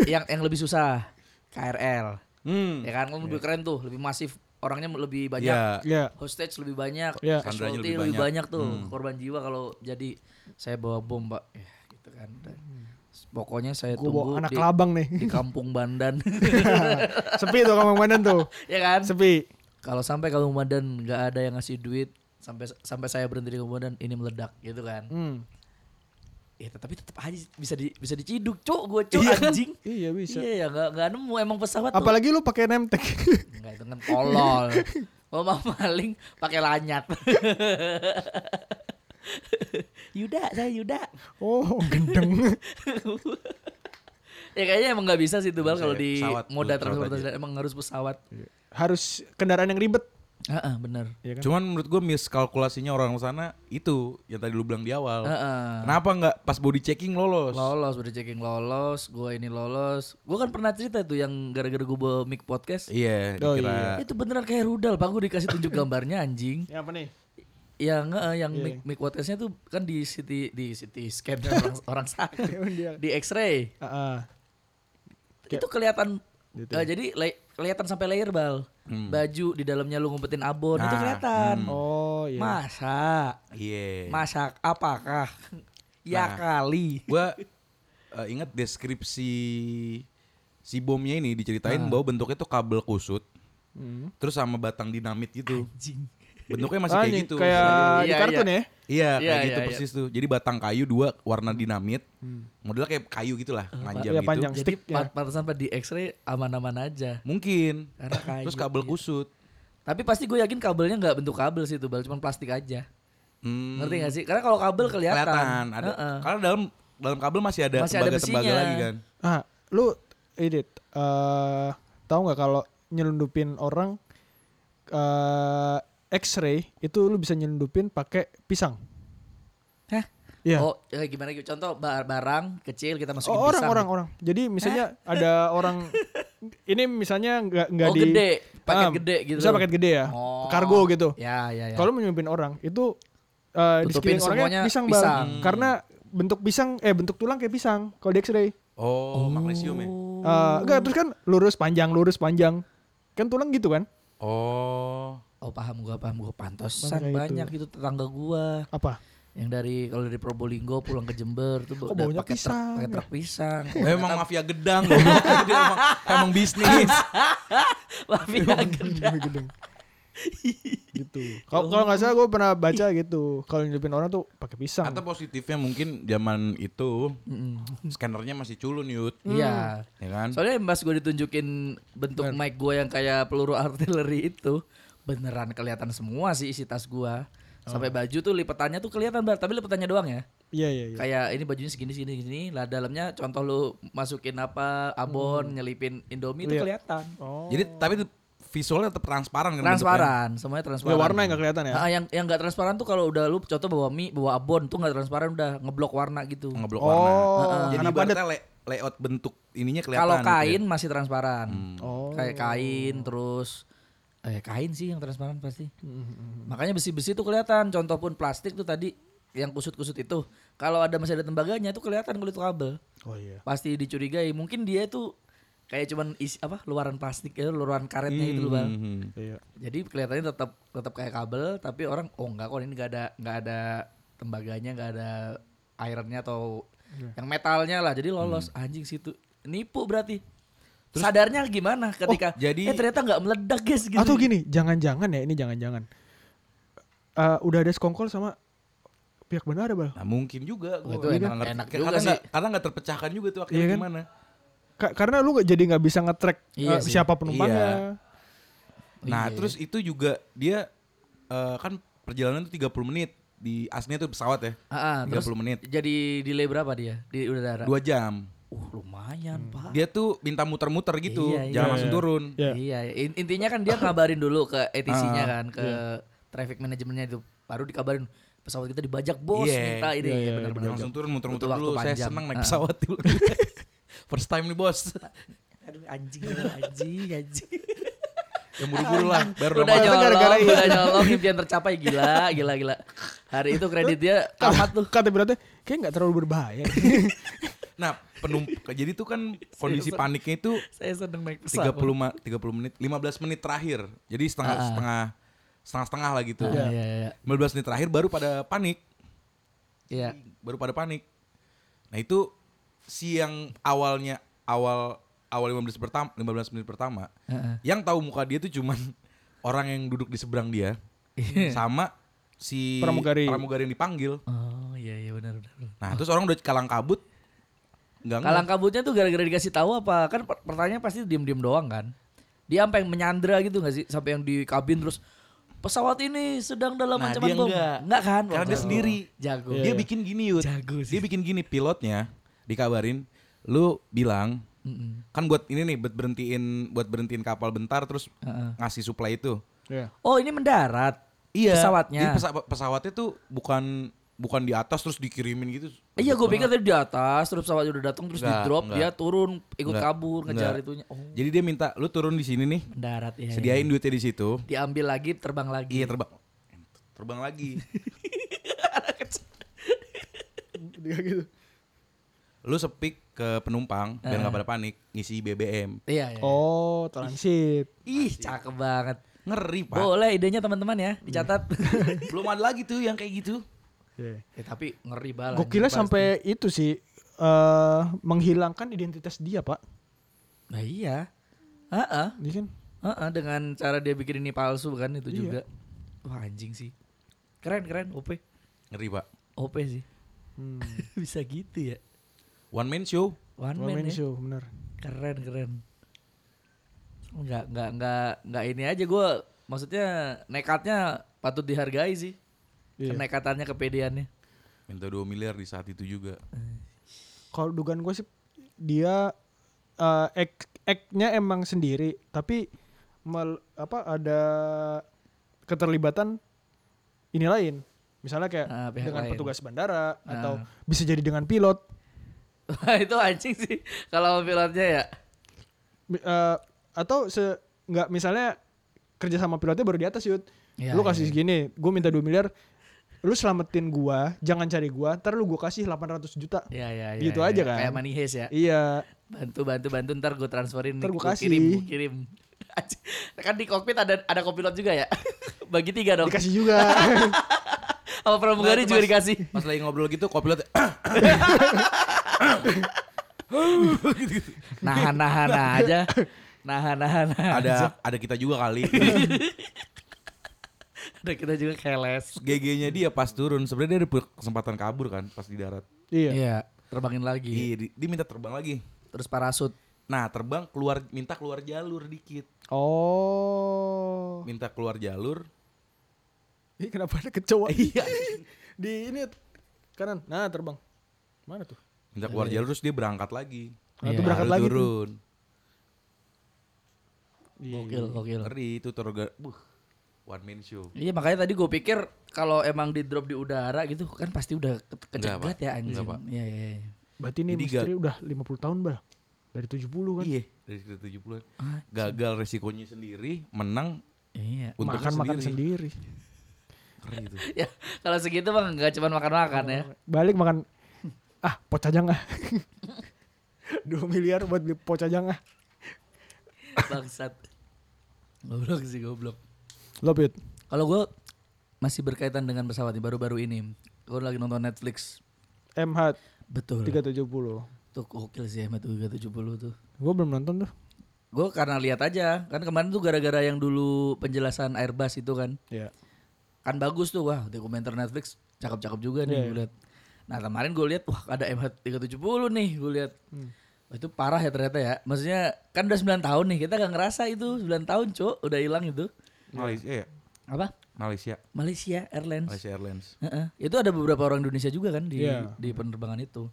[SPEAKER 3] yang yang lebih susah KRL.
[SPEAKER 2] Hmm.
[SPEAKER 3] Ya kan lebih keren tuh, lebih masif, orangnya lebih banyak.
[SPEAKER 2] Iya.
[SPEAKER 1] Iya.
[SPEAKER 3] Hostage lebih banyak,
[SPEAKER 1] Iya.
[SPEAKER 2] Sandranya
[SPEAKER 3] casualty
[SPEAKER 2] lebih
[SPEAKER 3] lebih,
[SPEAKER 2] banyak.
[SPEAKER 3] banyak,
[SPEAKER 2] Hmm.
[SPEAKER 3] tuh, korban jiwa kalau jadi saya bawa bom, Pak. Ya, gitu kan. Dan pokoknya saya
[SPEAKER 1] Gue
[SPEAKER 3] tunggu
[SPEAKER 1] bawa anak
[SPEAKER 3] di,
[SPEAKER 1] labang nih.
[SPEAKER 3] di kampung Bandan.
[SPEAKER 1] Sepi tuh kamar mandan tuh.
[SPEAKER 3] ya kan?
[SPEAKER 1] Sepi.
[SPEAKER 3] kalau sampai kamu Medan nggak ada yang ngasih duit sampai sampai saya berhenti di Medan ini meledak gitu kan
[SPEAKER 1] Hmm.
[SPEAKER 3] ya tapi tetap aja bisa di, bisa diciduk cuk gue cuk anjing
[SPEAKER 1] Iya bisa.
[SPEAKER 3] iya ya nggak nggak nemu emang pesawat tuh
[SPEAKER 1] Apalagi lu pakai name tag.
[SPEAKER 3] nggak itu kan tolol mau mah maling pakai lanyat Yuda saya Yuda
[SPEAKER 1] oh, gendeng.
[SPEAKER 3] ya kayaknya emang nggak bisa sih itu bal
[SPEAKER 2] Bisa
[SPEAKER 3] kalau
[SPEAKER 2] ya,
[SPEAKER 3] di
[SPEAKER 2] pesawat,
[SPEAKER 3] moda
[SPEAKER 2] buat pesawat
[SPEAKER 3] transportasi emang harus pesawat.
[SPEAKER 1] Iya. Harus kendaraan yang ribet.
[SPEAKER 3] Heeh, benar.
[SPEAKER 1] Ya kan?
[SPEAKER 2] Cuman menurut gue miskalkulasinya orang sana itu yang tadi lu bilang di awal.
[SPEAKER 3] Heeh.
[SPEAKER 2] Kenapa nggak pas body checking lolos?
[SPEAKER 3] Lolos, body checking lolos, gua ini lolos. Gua kan pernah cerita tuh yang gara-gara gua bawa mic podcast.
[SPEAKER 2] Iya,
[SPEAKER 1] Oh,
[SPEAKER 2] dikira
[SPEAKER 1] iya.
[SPEAKER 3] Itu beneran kayak rudal, Pak. Gua dikasih tunjuk gambarnya anjing.
[SPEAKER 1] Ya apa nih?
[SPEAKER 3] Yang eh, yang
[SPEAKER 1] Iya.
[SPEAKER 3] mic mic podcastnya tuh kan di city di city scan orang, orang sakit.
[SPEAKER 1] Iya, Dia.
[SPEAKER 3] Di X-ray.
[SPEAKER 1] Heeh.
[SPEAKER 3] Itu kelihatan
[SPEAKER 1] Gitu.
[SPEAKER 3] eh, jadi lay- kelihatan sampai layer bal. Baju di dalamnya lu ngumpetin abon itu
[SPEAKER 2] Hmm. Nah,
[SPEAKER 3] kelihatan.
[SPEAKER 1] Oh iya.
[SPEAKER 3] Masa?
[SPEAKER 2] Iya.
[SPEAKER 3] Masak apakah? ya
[SPEAKER 2] Nah.
[SPEAKER 3] kali.
[SPEAKER 2] Gue eh, ingat deskripsi si bomnya ini diceritain bahwa bentuknya tuh kabel kusut,
[SPEAKER 1] Hmm.
[SPEAKER 2] terus sama batang dinamit gitu.
[SPEAKER 3] Anjing.
[SPEAKER 2] Bentuknya masih kayak
[SPEAKER 1] Anjing,
[SPEAKER 2] gitu.
[SPEAKER 1] Ah, Kayak di
[SPEAKER 3] Iya,
[SPEAKER 1] kartun
[SPEAKER 3] iya.
[SPEAKER 1] ya.
[SPEAKER 2] Iya, kayak
[SPEAKER 3] Iya,
[SPEAKER 2] gitu
[SPEAKER 3] iya, iya.
[SPEAKER 2] persis tuh. Jadi batang kayu dua warna dinamit. Modelnya kayak kayu gitulah,
[SPEAKER 1] Iya,
[SPEAKER 2] panjang gitu.
[SPEAKER 1] panjang.
[SPEAKER 3] Jadi
[SPEAKER 1] Stick, ya.
[SPEAKER 3] pat- pantesan pas di X-ray aman-aman aja.
[SPEAKER 2] Mungkin.
[SPEAKER 3] Karena kayu.
[SPEAKER 2] Terus kabel kusut.
[SPEAKER 3] Tapi pasti gue yakin kabelnya nggak bentuk kabel sih itu, bal cuman plastik aja.
[SPEAKER 2] Hmm,
[SPEAKER 3] Ngerti gak sih? Karena kalau kabel kelihatan.
[SPEAKER 2] kelihatan. Ada,
[SPEAKER 3] Heeh.
[SPEAKER 2] Karena dalam dalam kabel masih ada
[SPEAKER 3] Masih ada
[SPEAKER 2] tembaga-tembaga
[SPEAKER 3] besinya.
[SPEAKER 2] lagi kan.
[SPEAKER 1] Ah, lu edit eh tahu nggak kalau nyelundupin orang eh X-ray itu lu bisa nyelundupin pakai pisang.
[SPEAKER 3] Hah?
[SPEAKER 1] Iya.
[SPEAKER 3] Oh, ya gimana gitu? Contoh bar- barang kecil kita masukin
[SPEAKER 1] Oh, orang
[SPEAKER 3] pisang. Eh?
[SPEAKER 1] orang orang. Jadi misalnya ada orang ini misalnya nggak nggak
[SPEAKER 3] Oh,
[SPEAKER 1] di
[SPEAKER 3] gede. Paket
[SPEAKER 1] Ah,
[SPEAKER 3] gede gitu.
[SPEAKER 1] Bisa paket gede ya.
[SPEAKER 3] Oh.
[SPEAKER 1] Kargo gitu.
[SPEAKER 3] Ya, ya, ya.
[SPEAKER 1] Kalau menyelundupin orang itu eh di
[SPEAKER 3] Tutupin
[SPEAKER 1] sekeliling orangnya
[SPEAKER 3] semuanya
[SPEAKER 1] pisang,
[SPEAKER 3] pisang.
[SPEAKER 1] Bang. Karena bentuk pisang eh bentuk tulang kayak pisang kalau di X-ray.
[SPEAKER 2] Oh, magnesium ya.
[SPEAKER 1] Eh, enggak terus kan lurus panjang lurus panjang. Kan tulang gitu kan?
[SPEAKER 2] Oh.
[SPEAKER 3] Oh, paham gua, paham gua.
[SPEAKER 1] Makanya
[SPEAKER 3] Pantosan
[SPEAKER 1] itu.
[SPEAKER 3] banyak itu. tetangga gua.
[SPEAKER 1] Apa?
[SPEAKER 3] Yang dari kalau dari Probolinggo pulang ke Jember tuh
[SPEAKER 1] Kok
[SPEAKER 3] udah
[SPEAKER 1] baunya
[SPEAKER 3] pakai truk,
[SPEAKER 1] pisang
[SPEAKER 3] pakai
[SPEAKER 1] ya?
[SPEAKER 3] truk pisang.
[SPEAKER 2] Emang mafia gedang goblok. Dia emang, emang bisnis.
[SPEAKER 3] Tapi
[SPEAKER 1] Gedung, gedung. gitu. Kalau kalau nggak salah gue pernah baca gitu. Kalau nyelipin orang tuh pakai pisang.
[SPEAKER 2] Atau positifnya mungkin zaman itu scannernya masih culun yut.
[SPEAKER 1] Hmm.
[SPEAKER 3] Iya.
[SPEAKER 2] Ya kan?
[SPEAKER 3] Soalnya pas gue ditunjukin bentuk mic gue yang kayak peluru artileri itu beneran kelihatan semua sih isi tas gua.
[SPEAKER 1] Oh.
[SPEAKER 3] Sampai baju tuh lipetannya tuh kelihatan banget, tapi lipetannya doang ya.
[SPEAKER 1] Iya iya iya.
[SPEAKER 3] Kayak ini bajunya segini segini segini, lah dalamnya contoh lu masukin apa, abon, nyelipin Indomie itu
[SPEAKER 1] Hmm. Iya.
[SPEAKER 3] kelihatan.
[SPEAKER 1] Oh.
[SPEAKER 2] Jadi tapi itu visualnya tetap transparan kan bentuknya.
[SPEAKER 3] Transparan, semuanya
[SPEAKER 1] Ya,
[SPEAKER 3] transparan.
[SPEAKER 1] warna nggak kelihatan ya?
[SPEAKER 3] Ah, yang yang nggak transparan tuh kalau udah lu contoh bawa mie, bawa abon tuh nggak transparan udah ngeblok warna gitu.
[SPEAKER 2] Ngeblok warna.
[SPEAKER 1] Oh.
[SPEAKER 2] Jadi
[SPEAKER 1] karena padat.
[SPEAKER 2] ibaratnya lay- layout bentuk ininya kelihatan.
[SPEAKER 3] Kalau
[SPEAKER 2] gitu ya. Hmm.
[SPEAKER 3] kain masih transparan.
[SPEAKER 1] Oh.
[SPEAKER 3] Kayak kain terus eh kain sih yang transparan pasti.
[SPEAKER 1] Hmm.
[SPEAKER 3] Makanya besi-besi itu kelihatan. Contoh pun plastik tuh tadi yang kusut-kusut itu. Kalau ada masih ada tembaganya itu kelihatan kulit kabel.
[SPEAKER 1] Oh iya.
[SPEAKER 3] Pasti dicurigai. Mungkin dia itu kayak cuman isi, apa luaran plastik ya, luaran karetnya gitu loh, Bang.
[SPEAKER 2] Mhm.
[SPEAKER 1] Iya.
[SPEAKER 3] Jadi kelihatannya tetap tetap kayak kabel, tapi orang oh enggak kok ini enggak ada enggak ada tembaganya, enggak ada ironnya atau
[SPEAKER 2] Iya.
[SPEAKER 3] yang metalnya lah. Jadi lolos
[SPEAKER 2] Hmm.
[SPEAKER 3] anjing situ. Nipu berarti. Sadarnya gimana ketika
[SPEAKER 2] Oh, jadi-
[SPEAKER 3] eh ternyata enggak meledak guys gitu.
[SPEAKER 1] Atau gini, jangan-jangan ya ini jangan-jangan. Eh, udah ada sekongkol sama pihak bandara bal.
[SPEAKER 2] Nah mungkin juga gua
[SPEAKER 3] Oh, itu
[SPEAKER 2] nggak
[SPEAKER 3] enak-
[SPEAKER 2] ngerti.
[SPEAKER 3] enak
[SPEAKER 2] Karena
[SPEAKER 3] juga
[SPEAKER 2] nggak- Karena nggak terpecahkan juga tuh akhirnya
[SPEAKER 1] Iya kan?
[SPEAKER 2] gimana
[SPEAKER 1] Ka- karena lu nggak- jadi nggak bisa nge-track
[SPEAKER 3] Iya
[SPEAKER 1] eh,
[SPEAKER 3] sih.
[SPEAKER 1] siapa penumpangnya.
[SPEAKER 2] Nah
[SPEAKER 3] Iya,
[SPEAKER 2] terus itu juga dia eh, Kan perjalanan tuh 30 menit Di aslinya tuh pesawat ya
[SPEAKER 3] Ah, ah, terus Iya.
[SPEAKER 2] 30 menit
[SPEAKER 3] jadi delay berapa dia di udara?
[SPEAKER 2] Dua Hmm. jam
[SPEAKER 3] Uh, lumayan, Pak.
[SPEAKER 2] Dia tuh minta muter-muter gitu
[SPEAKER 3] Iya, iya.
[SPEAKER 2] Jangan langsung turun
[SPEAKER 1] Iya.
[SPEAKER 3] Iya, in- intinya kan dia ngabarin dulu ke ATC-nya kan, ke traffic manajemennya itu. Baru dikabarin pesawat kita dibajak, Bos.
[SPEAKER 2] Iya,
[SPEAKER 3] Minta
[SPEAKER 1] iya,
[SPEAKER 3] ini
[SPEAKER 1] iya,
[SPEAKER 2] Jangan
[SPEAKER 3] benar-benar.
[SPEAKER 2] langsung turun muter-muter
[SPEAKER 3] Butuh waktu
[SPEAKER 2] dulu Saya
[SPEAKER 3] panjang.
[SPEAKER 2] senang naik
[SPEAKER 3] Ah.
[SPEAKER 2] pesawat dulu First time nih bos
[SPEAKER 3] Aduh anjing, anjing, anjing.
[SPEAKER 2] Yang Ya, buru-buru lah Baru
[SPEAKER 3] Udah
[SPEAKER 2] lama.
[SPEAKER 3] nyolong,
[SPEAKER 1] gara-gara ini.
[SPEAKER 3] udah nyolong impian tercapai gila, gila, gila. Hari itu kredit dia tamat tuh.
[SPEAKER 1] Kata berarti kayak nggak terlalu berbahaya.
[SPEAKER 2] Nah penump Jadi tuh kan
[SPEAKER 3] Iya,
[SPEAKER 2] kondisi paniknya itu
[SPEAKER 3] Saya sedang naik pesawat.
[SPEAKER 2] 30 ma- 30 menit 15 menit terakhir Jadi setengah setengah Setengah-setengah lah gitu
[SPEAKER 3] Ah, Iya, iya, iya.
[SPEAKER 2] 15 menit terakhir baru pada panik
[SPEAKER 3] Iya.
[SPEAKER 2] baru pada panik. Nah itu si yang awalnya awal awal 15 pertama 15 menit pertama
[SPEAKER 3] Heeh.
[SPEAKER 2] yang tahu muka dia tuh cuman orang yang duduk di seberang dia
[SPEAKER 3] Iya.
[SPEAKER 2] sama si
[SPEAKER 1] Pramugari.
[SPEAKER 2] yang dipanggil.
[SPEAKER 3] Oh, iya, iya benar, benar. benar.
[SPEAKER 2] Nah, terus orang udah kalang kabut enggak
[SPEAKER 3] Kalang kabutnya tuh gara-gara dikasih tahu apa? Kan per- pertanyaan pasti diem-diem doang kan. Dia sampai yang menyandra gitu gak sih? Sampai yang di kabin terus pesawat ini sedang dalam
[SPEAKER 2] Nah,
[SPEAKER 3] ancaman
[SPEAKER 2] dia
[SPEAKER 3] bom.
[SPEAKER 2] enggak.
[SPEAKER 3] kan?
[SPEAKER 2] Karena dia
[SPEAKER 3] Jago.
[SPEAKER 2] sendiri.
[SPEAKER 3] Jago.
[SPEAKER 2] dia bikin gini yud.
[SPEAKER 3] Jago sih.
[SPEAKER 2] Dia bikin gini pilotnya dikabarin lu bilang
[SPEAKER 3] Mm-mm.
[SPEAKER 2] Kan buat ini nih buat berhentiin buat berhentiin kapal bentar terus
[SPEAKER 3] Heeh.
[SPEAKER 2] ngasih supply itu.
[SPEAKER 1] Iya.
[SPEAKER 3] Oh ini mendarat. Pesawatnya.
[SPEAKER 2] Iya. Jadi pesa- pesawatnya tuh bukan bukan di atas terus dikirimin gitu.
[SPEAKER 3] Iya gue pikir tadi di atas terus pesawat udah datang terus
[SPEAKER 2] Enggak,
[SPEAKER 3] di drop
[SPEAKER 2] enggak.
[SPEAKER 3] dia turun ikut
[SPEAKER 2] Enggak,
[SPEAKER 3] kabur ngejar
[SPEAKER 2] enggak.
[SPEAKER 3] itunya. Oh
[SPEAKER 2] Jadi dia minta lu turun di sini nih,
[SPEAKER 3] mendarat ya.
[SPEAKER 2] sediain duitnya di situ.
[SPEAKER 3] Diambil lagi terbang lagi.
[SPEAKER 2] Iya terbang. Terbang lagi.
[SPEAKER 1] Dia gitu.
[SPEAKER 2] lu sepik ke penumpang biar nggak pada panik ngisi BBM.
[SPEAKER 3] Iya. iya.
[SPEAKER 1] Oh, transit.
[SPEAKER 3] Ih cakep banget.
[SPEAKER 2] Ngeri, Pak.
[SPEAKER 3] Boleh idenya teman-teman ya dicatat.
[SPEAKER 2] Belum ada lagi tuh yang kayak gitu.
[SPEAKER 1] Iya.
[SPEAKER 3] Ya, tapi ngeri banget.
[SPEAKER 1] Gokilnya
[SPEAKER 3] anjing, pasti.
[SPEAKER 1] sampai itu sih eh menghilangkan identitas dia, Pak.
[SPEAKER 3] Nah iya. Heeh.
[SPEAKER 1] Iya kan?
[SPEAKER 3] Heeh, dengan cara dia bikin ini palsu kan
[SPEAKER 1] Iya.
[SPEAKER 3] itu juga. Wah anjing sih. Keren keren OP.
[SPEAKER 2] Ngeri, Pak.
[SPEAKER 3] OP sih.
[SPEAKER 1] Hmm.
[SPEAKER 3] Bisa gitu ya.
[SPEAKER 2] One man show.
[SPEAKER 1] One
[SPEAKER 3] One, man,
[SPEAKER 1] man
[SPEAKER 3] ya.
[SPEAKER 1] show, benar.
[SPEAKER 3] Keren keren. Enggak enggak enggak enggak ini aja gue maksudnya nekatnya patut dihargai sih.
[SPEAKER 1] Iya.
[SPEAKER 3] Kenekatannya kepedeannya.
[SPEAKER 2] Minta 2 miliar di saat itu juga.
[SPEAKER 1] Kalau dugaan gue sih dia eh act, act-nya emang sendiri, tapi mel- apa ada keterlibatan ini lain. Misalnya kayak
[SPEAKER 3] Ah, pihak
[SPEAKER 1] dengan
[SPEAKER 3] lain. Ah.
[SPEAKER 1] petugas bandara atau bisa jadi dengan pilot.
[SPEAKER 3] Wah itu anjing sih kalau pilotnya ya.
[SPEAKER 1] Mi- eh, atau se nggak misalnya kerja sama pilotnya baru di atas yud
[SPEAKER 3] Iya,
[SPEAKER 1] lu
[SPEAKER 3] iya,
[SPEAKER 1] kasih
[SPEAKER 3] iya.
[SPEAKER 1] segini gue minta 2 miliar lu selamatin gua jangan cari gua ntar lu gua kasih 800 juta
[SPEAKER 3] Ya ya ya.
[SPEAKER 1] Gitu
[SPEAKER 3] ya,
[SPEAKER 1] aja
[SPEAKER 3] ya.
[SPEAKER 1] kan.
[SPEAKER 3] Kayak money heist ya.
[SPEAKER 1] iya
[SPEAKER 3] Bantu bantu bantu ntar gue transferin
[SPEAKER 1] Ntar
[SPEAKER 3] nih,
[SPEAKER 1] gua
[SPEAKER 3] gua
[SPEAKER 1] kasih.
[SPEAKER 3] kirim gua kirim. Anjing. kan di kokpit ada ada kopilot juga ya. Bagi tiga dong.
[SPEAKER 1] dikasih juga
[SPEAKER 3] Sama
[SPEAKER 2] Nah,
[SPEAKER 3] pramugari
[SPEAKER 2] itu
[SPEAKER 3] juga
[SPEAKER 2] Mas.
[SPEAKER 3] dikasih.
[SPEAKER 2] Pas lagi ngobrol gitu, kopilot Gitu-gitu.
[SPEAKER 3] Nahan nahan
[SPEAKER 1] Nah.
[SPEAKER 3] aja. Nahan nahan. nahan aja.
[SPEAKER 2] ada ada kita juga kali.
[SPEAKER 3] Ada kita juga keles.
[SPEAKER 2] GG-nya dia pas turun sebenarnya dia ada pe- kesempatan kabur kan pas di darat.
[SPEAKER 1] iya
[SPEAKER 3] Iya. Terbangin lagi.
[SPEAKER 2] Iya, di- dia minta terbang lagi.
[SPEAKER 3] Terus parasut.
[SPEAKER 2] Nah, terbang keluar minta keluar jalur dikit.
[SPEAKER 1] oh
[SPEAKER 2] Minta keluar jalur.
[SPEAKER 1] ini kenapa ada kecoa iya di ini kanan nah terbang mana tuh
[SPEAKER 2] Minta keluar jalur terus dia berangkat lagi.
[SPEAKER 1] Nah,
[SPEAKER 3] Iya.
[SPEAKER 1] tuh iya. berangkat
[SPEAKER 2] Baru
[SPEAKER 1] lagi tuh.
[SPEAKER 2] turun.
[SPEAKER 1] Iya.
[SPEAKER 3] Gokil gokil.
[SPEAKER 2] Ngeri itu terga- Buh. One man show.
[SPEAKER 3] Iya makanya tadi gue pikir kalau emang di drop di udara gitu kan pasti udah ke-
[SPEAKER 2] Enggak,
[SPEAKER 3] kecegat
[SPEAKER 2] Pak.
[SPEAKER 3] ya anjing.
[SPEAKER 2] Enggak, Pak.
[SPEAKER 3] Iya iya. iya.
[SPEAKER 1] berarti ini
[SPEAKER 2] Jadi
[SPEAKER 1] misteri udah 50 tahun bah dari 70 kan
[SPEAKER 2] Iya, dari sekitar 70-an.
[SPEAKER 1] Ah,
[SPEAKER 2] Gagal resikonya sendiri, menang
[SPEAKER 3] Iya.
[SPEAKER 2] untuk
[SPEAKER 1] makan makan sendiri
[SPEAKER 2] sendiri. Keren itu.
[SPEAKER 3] ya kalau segitu mah nggak cuma makan-makan ya
[SPEAKER 1] balik makan ah pocajang ah dua miliar buat beli pocajang ah
[SPEAKER 3] bangsat goblok sih goblok
[SPEAKER 1] love it
[SPEAKER 3] kalau gue masih berkaitan dengan pesawat nih baru-baru ini gue lagi nonton Netflix
[SPEAKER 1] MH
[SPEAKER 3] betul
[SPEAKER 1] 370
[SPEAKER 3] tuh gokil sih Ahmad 370 tuh
[SPEAKER 1] gue belum nonton tuh
[SPEAKER 3] gue karena lihat aja kan kemarin tuh gara-gara yang dulu penjelasan Airbus itu kan
[SPEAKER 1] ya
[SPEAKER 2] Iya.
[SPEAKER 3] kan bagus tuh wah dokumenter Netflix cakep-cakep juga nih
[SPEAKER 1] Iya,
[SPEAKER 3] gue lihat nah kemarin gue lihat wah ada MH 370 nih gue lihat
[SPEAKER 1] Hmm.
[SPEAKER 3] Wah, itu parah ya ternyata ya maksudnya kan udah 9 tahun nih kita gak ngerasa itu 9 tahun cuk udah hilang itu
[SPEAKER 2] Malaysia ya?
[SPEAKER 3] apa
[SPEAKER 2] Malaysia.
[SPEAKER 3] Malaysia Airlines
[SPEAKER 2] Malaysia Airlines.
[SPEAKER 3] Heeh. itu ada beberapa orang Indonesia juga kan di
[SPEAKER 1] Iya.
[SPEAKER 3] di penerbangan itu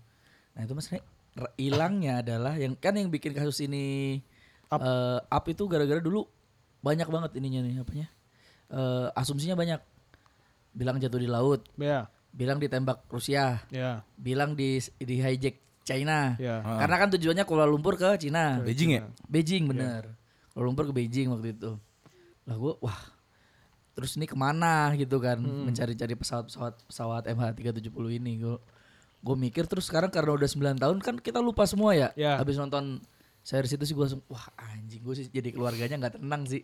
[SPEAKER 3] nah itu maksudnya r- hilangnya adalah yang kan yang bikin kasus ini
[SPEAKER 1] Up.
[SPEAKER 3] up, up itu gara-gara dulu banyak banget ininya nih apanya Eh, asumsinya banyak bilang jatuh di laut
[SPEAKER 1] ya
[SPEAKER 3] bilang ditembak Rusia,
[SPEAKER 1] ya
[SPEAKER 3] bilang di di hijack China.
[SPEAKER 1] ya
[SPEAKER 2] Ah.
[SPEAKER 3] Karena kan tujuannya Kuala Lumpur ke
[SPEAKER 1] Iya.
[SPEAKER 3] Cina,
[SPEAKER 2] Beijing ya?
[SPEAKER 3] Beijing bener. Kuala Lumpur ke Beijing waktu itu. Lah gue wah terus ini kemana gitu kan
[SPEAKER 1] Hmm.
[SPEAKER 3] mencari-cari pesawat-pesawat pesawat MH370 ini gue gue mikir terus sekarang karena udah 9 tahun kan kita lupa semua ya
[SPEAKER 1] Ya.
[SPEAKER 3] habis nonton series itu sih gue langsung wah anjing gue sih jadi keluarganya nggak tenang sih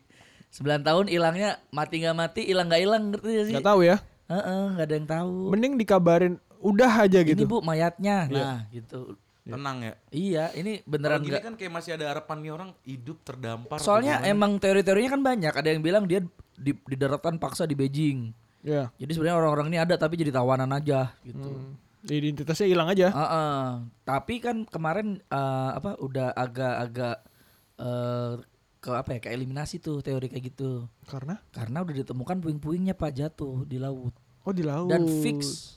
[SPEAKER 3] 9 tahun hilangnya mati nggak mati hilang nggak hilang ngerti gak sih
[SPEAKER 1] nggak tahu ya
[SPEAKER 3] Heeh, nggak ada yang tahu
[SPEAKER 1] mending dikabarin udah aja
[SPEAKER 3] ini
[SPEAKER 1] gitu
[SPEAKER 3] bu mayatnya nah gitu
[SPEAKER 2] Tenang ya.
[SPEAKER 3] iya ini
[SPEAKER 2] Kalau
[SPEAKER 3] beneran
[SPEAKER 2] gini
[SPEAKER 3] nggak
[SPEAKER 2] kan kayak masih ada harapan nih orang hidup terdampar. atau
[SPEAKER 3] soalnya
[SPEAKER 2] gimana.
[SPEAKER 3] emang teori-teorinya kan banyak ada yang bilang dia di, didaratkan paksa di Beijing
[SPEAKER 1] ya
[SPEAKER 3] jadi sebenarnya orang-orang ini ada tapi jadi tawanan aja gitu
[SPEAKER 1] Hmm. identitasnya hilang
[SPEAKER 3] Ah.
[SPEAKER 1] aja
[SPEAKER 3] Heeh. tapi kan kemarin eh, apa udah agak-agak eh, ke apa ya ke eliminasi tuh teori kayak gitu
[SPEAKER 1] karena
[SPEAKER 3] karena udah ditemukan puing-puingnya pak jatuh di laut
[SPEAKER 1] oh di laut
[SPEAKER 3] dan fix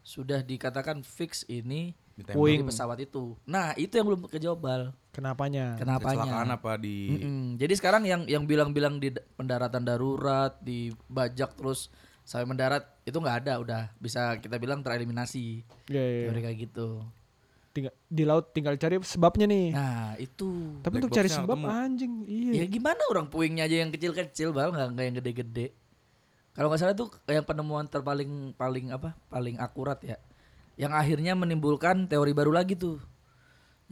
[SPEAKER 3] sudah dikatakan fix ini
[SPEAKER 2] Ditembak.
[SPEAKER 1] Woi.
[SPEAKER 3] di pesawat itu nah itu yang belum kejawab Bal.
[SPEAKER 1] Kenapanya?
[SPEAKER 3] Kenapanya?
[SPEAKER 2] Kecelakaan apa di
[SPEAKER 1] Iya.
[SPEAKER 3] Mm-mm. Jadi sekarang yang yang bilang-bilang di da- pendaratan darurat, di bajak terus sampai mendarat itu nggak ada, udah bisa kita bilang tereliminasi.
[SPEAKER 1] Iya, iya.
[SPEAKER 3] Teori kayak gitu.
[SPEAKER 1] Tinggal- di laut tinggal cari sebabnya nih.
[SPEAKER 3] Nah, itu.
[SPEAKER 1] Tapi
[SPEAKER 2] black
[SPEAKER 1] untuk cari
[SPEAKER 2] boxnya
[SPEAKER 1] sebab
[SPEAKER 2] ketemu.
[SPEAKER 1] anjing, iya.
[SPEAKER 3] Ya gimana orang puingnya aja yang kecil-kecil bal nggak nggak yang gede-gede. Kalau nggak salah tuh yang penemuan terpaling paling apa paling akurat ya. Yang akhirnya menimbulkan teori baru lagi tuh.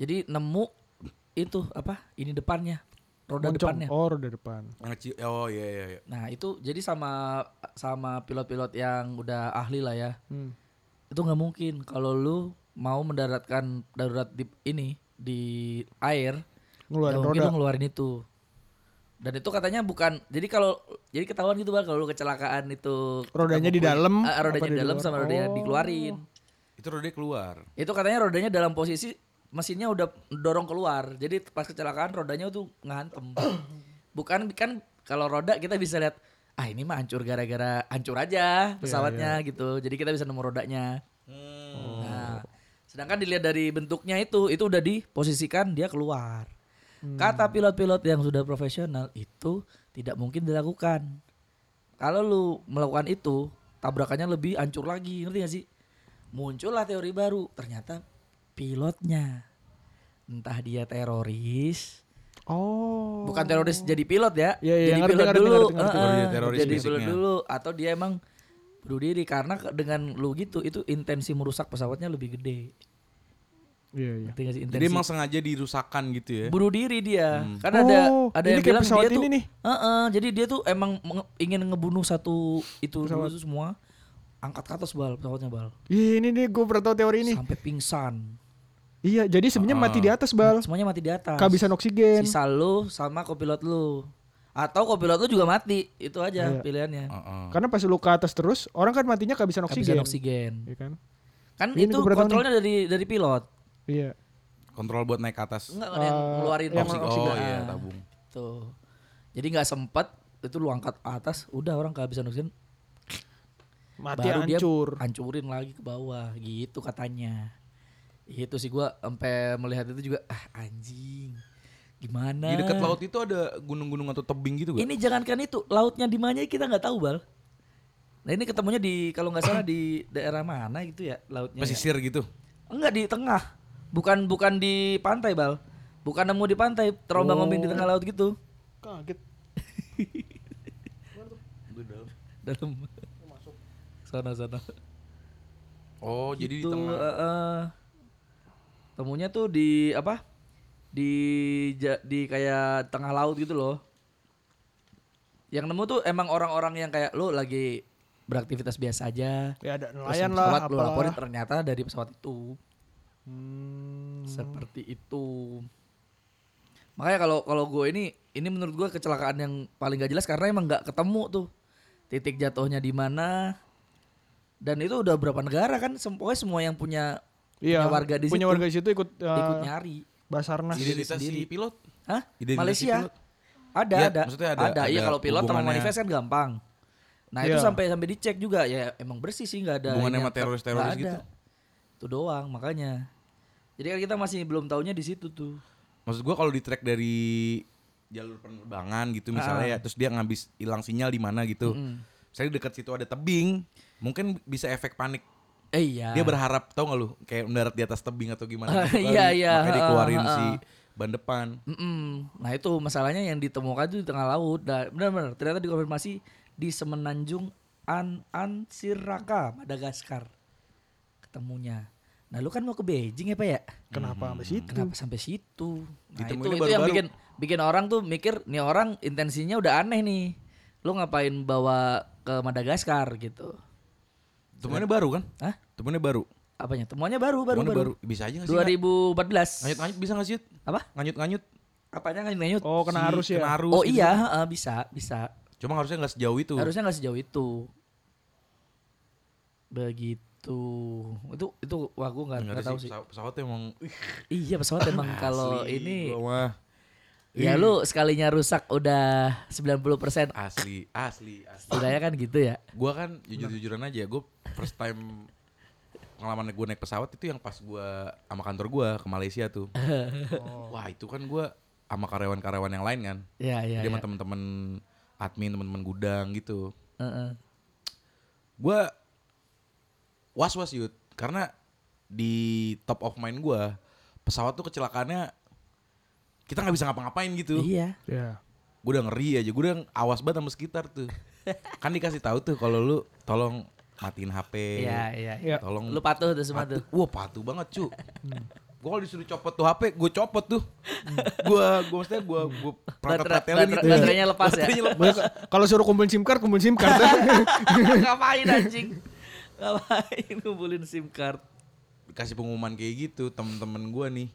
[SPEAKER 3] Jadi nemu itu apa ini depannya roda
[SPEAKER 1] Moncong.
[SPEAKER 3] depannya.
[SPEAKER 1] Oh, roda depan.
[SPEAKER 2] yang kecil? Oh iya iya iya.
[SPEAKER 3] Nah itu jadi sama sama pilot-pilot yang udah ahli lah ya.
[SPEAKER 1] Hmm.
[SPEAKER 3] Itu nggak mungkin kalau lu mau mendaratkan darurat di ini di air
[SPEAKER 1] Ngeluarin
[SPEAKER 3] Ya, mungkin
[SPEAKER 1] roda.
[SPEAKER 3] lu ngeluarin itu. Dan itu katanya bukan. Jadi kalau jadi ketahuan gitu bang kalau lu kecelakaan itu
[SPEAKER 1] Rodanya di
[SPEAKER 3] ketemu-
[SPEAKER 1] dalam,
[SPEAKER 3] Ah, rodanya
[SPEAKER 1] apa
[SPEAKER 3] di
[SPEAKER 1] di
[SPEAKER 3] dalam
[SPEAKER 1] luar?
[SPEAKER 3] sama rodanya
[SPEAKER 1] Oh.
[SPEAKER 3] dikeluarin.
[SPEAKER 2] Itu rodanya keluar.
[SPEAKER 3] Itu katanya rodanya dalam posisi mesinnya udah dorong keluar. Jadi pas kecelakaan rodanya tuh ngantem. bukan kan kalau roda kita bisa lihat ah ini mah hancur gara-gara hancur aja pesawatnya gitu. Jadi kita bisa nemu rodanya. Nah, sedangkan dilihat dari bentuknya itu, itu udah diposisikan dia keluar. Kata pilot-pilot yang sudah profesional itu tidak mungkin dilakukan. Kalau lu melakukan itu, tabrakannya lebih hancur lagi, ngerti gak sih? Muncullah teori baru, ternyata pilotnya entah dia teroris,
[SPEAKER 1] Oh.
[SPEAKER 3] bukan teroris jadi pilot ya,
[SPEAKER 1] Iya, iya,
[SPEAKER 3] jadi
[SPEAKER 1] ngerti,
[SPEAKER 3] pilot
[SPEAKER 1] ngerti,
[SPEAKER 3] dulu,
[SPEAKER 1] ngerti, ngerti.
[SPEAKER 3] heeh,
[SPEAKER 2] Baru dia Iya, teroris
[SPEAKER 3] jadi pilot
[SPEAKER 2] basicnya.
[SPEAKER 3] dulu atau dia emang bunuh diri karena ke- dengan lu gitu itu intensi merusak pesawatnya lebih gede.
[SPEAKER 1] Iya, iya.
[SPEAKER 3] Ngerti nggak sih intensi?
[SPEAKER 2] Jadi emang sengaja dirusakan gitu ya.
[SPEAKER 3] bunuh diri dia. Karena ada
[SPEAKER 1] Oh,
[SPEAKER 3] ada
[SPEAKER 1] ini
[SPEAKER 3] yang
[SPEAKER 1] kayak
[SPEAKER 3] bilang
[SPEAKER 1] pesawat
[SPEAKER 3] dia tuh
[SPEAKER 1] ini nih.
[SPEAKER 3] Heeh, jadi dia tuh emang menge- ingin ngebunuh satu itu dulu tuh semua angkat ke atas bal pesawatnya bal
[SPEAKER 1] Iya, ini nih gue pernah tahu teori ini.
[SPEAKER 3] sampai pingsan
[SPEAKER 1] Iya, jadi sebenarnya mati di atas, Bal.
[SPEAKER 3] semuanya mati di atas
[SPEAKER 1] Kehabisan oksigen.
[SPEAKER 3] Ah. sisa lu sama kopilot lu atau kopilot lu juga mati itu aja
[SPEAKER 1] Iya.
[SPEAKER 3] pilihannya
[SPEAKER 2] Heeh.
[SPEAKER 1] Karena pas lu ke atas terus, orang kan matinya kehabisan oksigen.
[SPEAKER 3] kehabisan oksigen
[SPEAKER 1] Iya kan?
[SPEAKER 3] kan
[SPEAKER 1] Ini
[SPEAKER 3] itu
[SPEAKER 1] gua pernah tahu
[SPEAKER 3] kontrolnya dari dari pilot
[SPEAKER 1] Iya.
[SPEAKER 2] Kontrol buat naik ke atas.
[SPEAKER 3] enggak yang ngeluarin
[SPEAKER 2] Eh, yang-
[SPEAKER 3] oksigen
[SPEAKER 2] oh, iya,
[SPEAKER 3] Ah,
[SPEAKER 2] tabung.
[SPEAKER 3] tuh jadi nggak sempet itu lu angkat atas udah orang kehabisan oksigen
[SPEAKER 1] Mati
[SPEAKER 3] baru
[SPEAKER 1] hancur.
[SPEAKER 3] dia hancurin lagi ke bawah gitu katanya itu sih gua sampai melihat itu juga ah anjing gimana
[SPEAKER 2] Di dekat laut itu ada gunung-gunung atau tebing gitu gak?
[SPEAKER 3] Nah. ini jangankan itu lautnya di mana kita nggak tahu bal nah ini ketemunya di kalau nggak salah di daerah mana gitu ya lautnya ya?
[SPEAKER 2] Pesisir gitu.
[SPEAKER 3] enggak di tengah bukan bukan di pantai bal bukan nemu di pantai terombang ambing di tengah laut gitu
[SPEAKER 1] Kaget.
[SPEAKER 3] dalam sana sana
[SPEAKER 2] Oh, jadi di
[SPEAKER 3] Tuh,
[SPEAKER 2] tengah.
[SPEAKER 3] eh, eh. temunya tuh di apa? Di ja- di kayak tengah laut gitu loh. Yang nemu tuh emang orang-orang yang kayak lu lagi beraktivitas biasa aja.
[SPEAKER 1] Ya ada
[SPEAKER 3] Terus
[SPEAKER 1] nelayan
[SPEAKER 3] yang
[SPEAKER 1] lah,
[SPEAKER 3] pesawat lu
[SPEAKER 1] apalah.
[SPEAKER 3] laporin ternyata dari pesawat itu.
[SPEAKER 1] Hmm.
[SPEAKER 3] Seperti itu. Makanya kalau kalau gue ini ini menurut gue kecelakaan yang paling gak jelas karena emang nggak ketemu tuh titik jatuhnya di mana. Dan itu udah berapa negara kan semua semua yang punya
[SPEAKER 1] Iya,
[SPEAKER 3] punya warga di
[SPEAKER 1] punya
[SPEAKER 3] situ
[SPEAKER 1] warga di situ ikut, eh,
[SPEAKER 3] ikut nyari.
[SPEAKER 1] Basarnas.
[SPEAKER 2] Identitas si pilot.
[SPEAKER 3] Hah?
[SPEAKER 2] Identifikasi
[SPEAKER 3] Malaysia.
[SPEAKER 2] pilot.
[SPEAKER 3] Ada,
[SPEAKER 2] Iya,
[SPEAKER 3] ada.
[SPEAKER 2] maksudnya ada-
[SPEAKER 3] ada. Iya,
[SPEAKER 2] ada
[SPEAKER 3] kalau pilot sama
[SPEAKER 2] hubungannya.
[SPEAKER 3] manifest kan gampang. Nah, itu
[SPEAKER 1] Iya.
[SPEAKER 3] sampai sampai dicek juga ya emang bersih sih nggak ada
[SPEAKER 2] Hubungannya
[SPEAKER 3] ini
[SPEAKER 2] sama
[SPEAKER 3] apa-
[SPEAKER 2] teroris-teroris
[SPEAKER 3] nggak ada.
[SPEAKER 2] gitu.
[SPEAKER 3] Itu doang makanya. Jadi kan kita masih belum taunya di situ tuh.
[SPEAKER 2] Maksud gua kalau di track dari jalur penerbangan
[SPEAKER 3] Ah.
[SPEAKER 2] gitu misalnya ya, terus dia ngabis hilang sinyal di mana gitu. Misalnya di dekat situ ada tebing, mungkin bisa efek panik.
[SPEAKER 3] Eh iya.
[SPEAKER 2] Dia berharap tau gak lu kayak mendarat di atas tebing atau gimana
[SPEAKER 3] Ah,
[SPEAKER 2] gitu kali.
[SPEAKER 3] iya, iya.
[SPEAKER 2] Makanya dikeluarin
[SPEAKER 3] Ah, ah,
[SPEAKER 2] si ban depan.
[SPEAKER 3] Mm-mm. Nah, itu masalahnya yang ditemukan tuh di tengah laut. Nah, benar-benar ternyata dikonfirmasi di semenanjung An Ansiraka, Madagaskar. Ketemunya. Nah, lu kan mau ke Beijing ya, Pak ya?
[SPEAKER 1] Kenapa sampai situ?
[SPEAKER 3] Kenapa sampai situ? Nah, itu,
[SPEAKER 2] Ditemuinnya
[SPEAKER 3] itu yang
[SPEAKER 2] baru-baru.
[SPEAKER 3] bikin bikin orang tuh mikir nih orang intensinya udah aneh nih. Lu ngapain bawa ke Madagaskar gitu?
[SPEAKER 2] Temuannya baru kan?
[SPEAKER 3] Hah?
[SPEAKER 2] Temuannya baru.
[SPEAKER 3] Apanya? Temuannya baru baru
[SPEAKER 2] Temuannya
[SPEAKER 3] baru.
[SPEAKER 2] baru. Bisa aja gak sih?
[SPEAKER 3] 2014.
[SPEAKER 2] Nganyut-nganyut bisa gak sih? Yud?
[SPEAKER 3] Apa?
[SPEAKER 2] Nganyut-nganyut.
[SPEAKER 3] Apanya kan nganyut?
[SPEAKER 1] Oh, kena arus ya.
[SPEAKER 2] Kena arus
[SPEAKER 3] Oh
[SPEAKER 2] gitu.
[SPEAKER 3] iya, heeh, bisa, bisa.
[SPEAKER 2] Cuma harusnya gak sejauh itu.
[SPEAKER 3] Harusnya nggak sejauh itu. Begitu. Itu itu wah gua nggak nggak
[SPEAKER 2] Enggak
[SPEAKER 3] tahu sih.
[SPEAKER 2] pesawat, pesawatnya emang ih,
[SPEAKER 3] Iya pesawat emang kalau
[SPEAKER 2] asli
[SPEAKER 3] ini
[SPEAKER 2] gua Iya. mah.
[SPEAKER 3] ya lu sekalinya rusak udah 90%
[SPEAKER 2] asli, asli, asli.
[SPEAKER 3] setidaknya kan gitu ya.
[SPEAKER 2] Gua kan jujur-jujuran aja, gue first time pengalaman gue naik pesawat itu yang pas gue sama kantor gue ke Malaysia tuh. Wah itu kan gue sama karyawan-karyawan yang lain kan.
[SPEAKER 3] Iya, iya.
[SPEAKER 2] Dia
[SPEAKER 3] iya.
[SPEAKER 2] sama temen-temen admin, temen-temen gudang gitu.
[SPEAKER 3] Heeh.
[SPEAKER 2] Gue was-was yud karena di top of mind gue pesawat tuh kecelakaannya kita nggak bisa ngapa-ngapain gitu.
[SPEAKER 3] Iya.
[SPEAKER 1] Ya.
[SPEAKER 2] gue udah ngeri aja gue udah awas banget sama sekitar tuh kan dikasih tahu tuh kalau lu tolong matiin HP
[SPEAKER 3] Iya, iya.
[SPEAKER 1] Iya.
[SPEAKER 2] tolong
[SPEAKER 3] Lu patuh tuh semua
[SPEAKER 2] patuh.
[SPEAKER 3] tuh. Hmm.
[SPEAKER 2] wah patuh banget cu gue kalau disuruh copot tuh HP gue copot tuh gue gue maksudnya gue gue perangkat
[SPEAKER 3] Baterai-
[SPEAKER 2] peratelin
[SPEAKER 3] baterai-
[SPEAKER 2] gitu
[SPEAKER 3] baterainya lepas ya?
[SPEAKER 2] Baterainya lepas.
[SPEAKER 1] Banyak- Kalau suruh kumpulin SIM card, kumpulin SIM card.
[SPEAKER 3] Iya. Ngapain anjing? Ngapain ngumpulin SIM card?
[SPEAKER 2] dikasih pengumuman kayak gitu temen-temen gue nih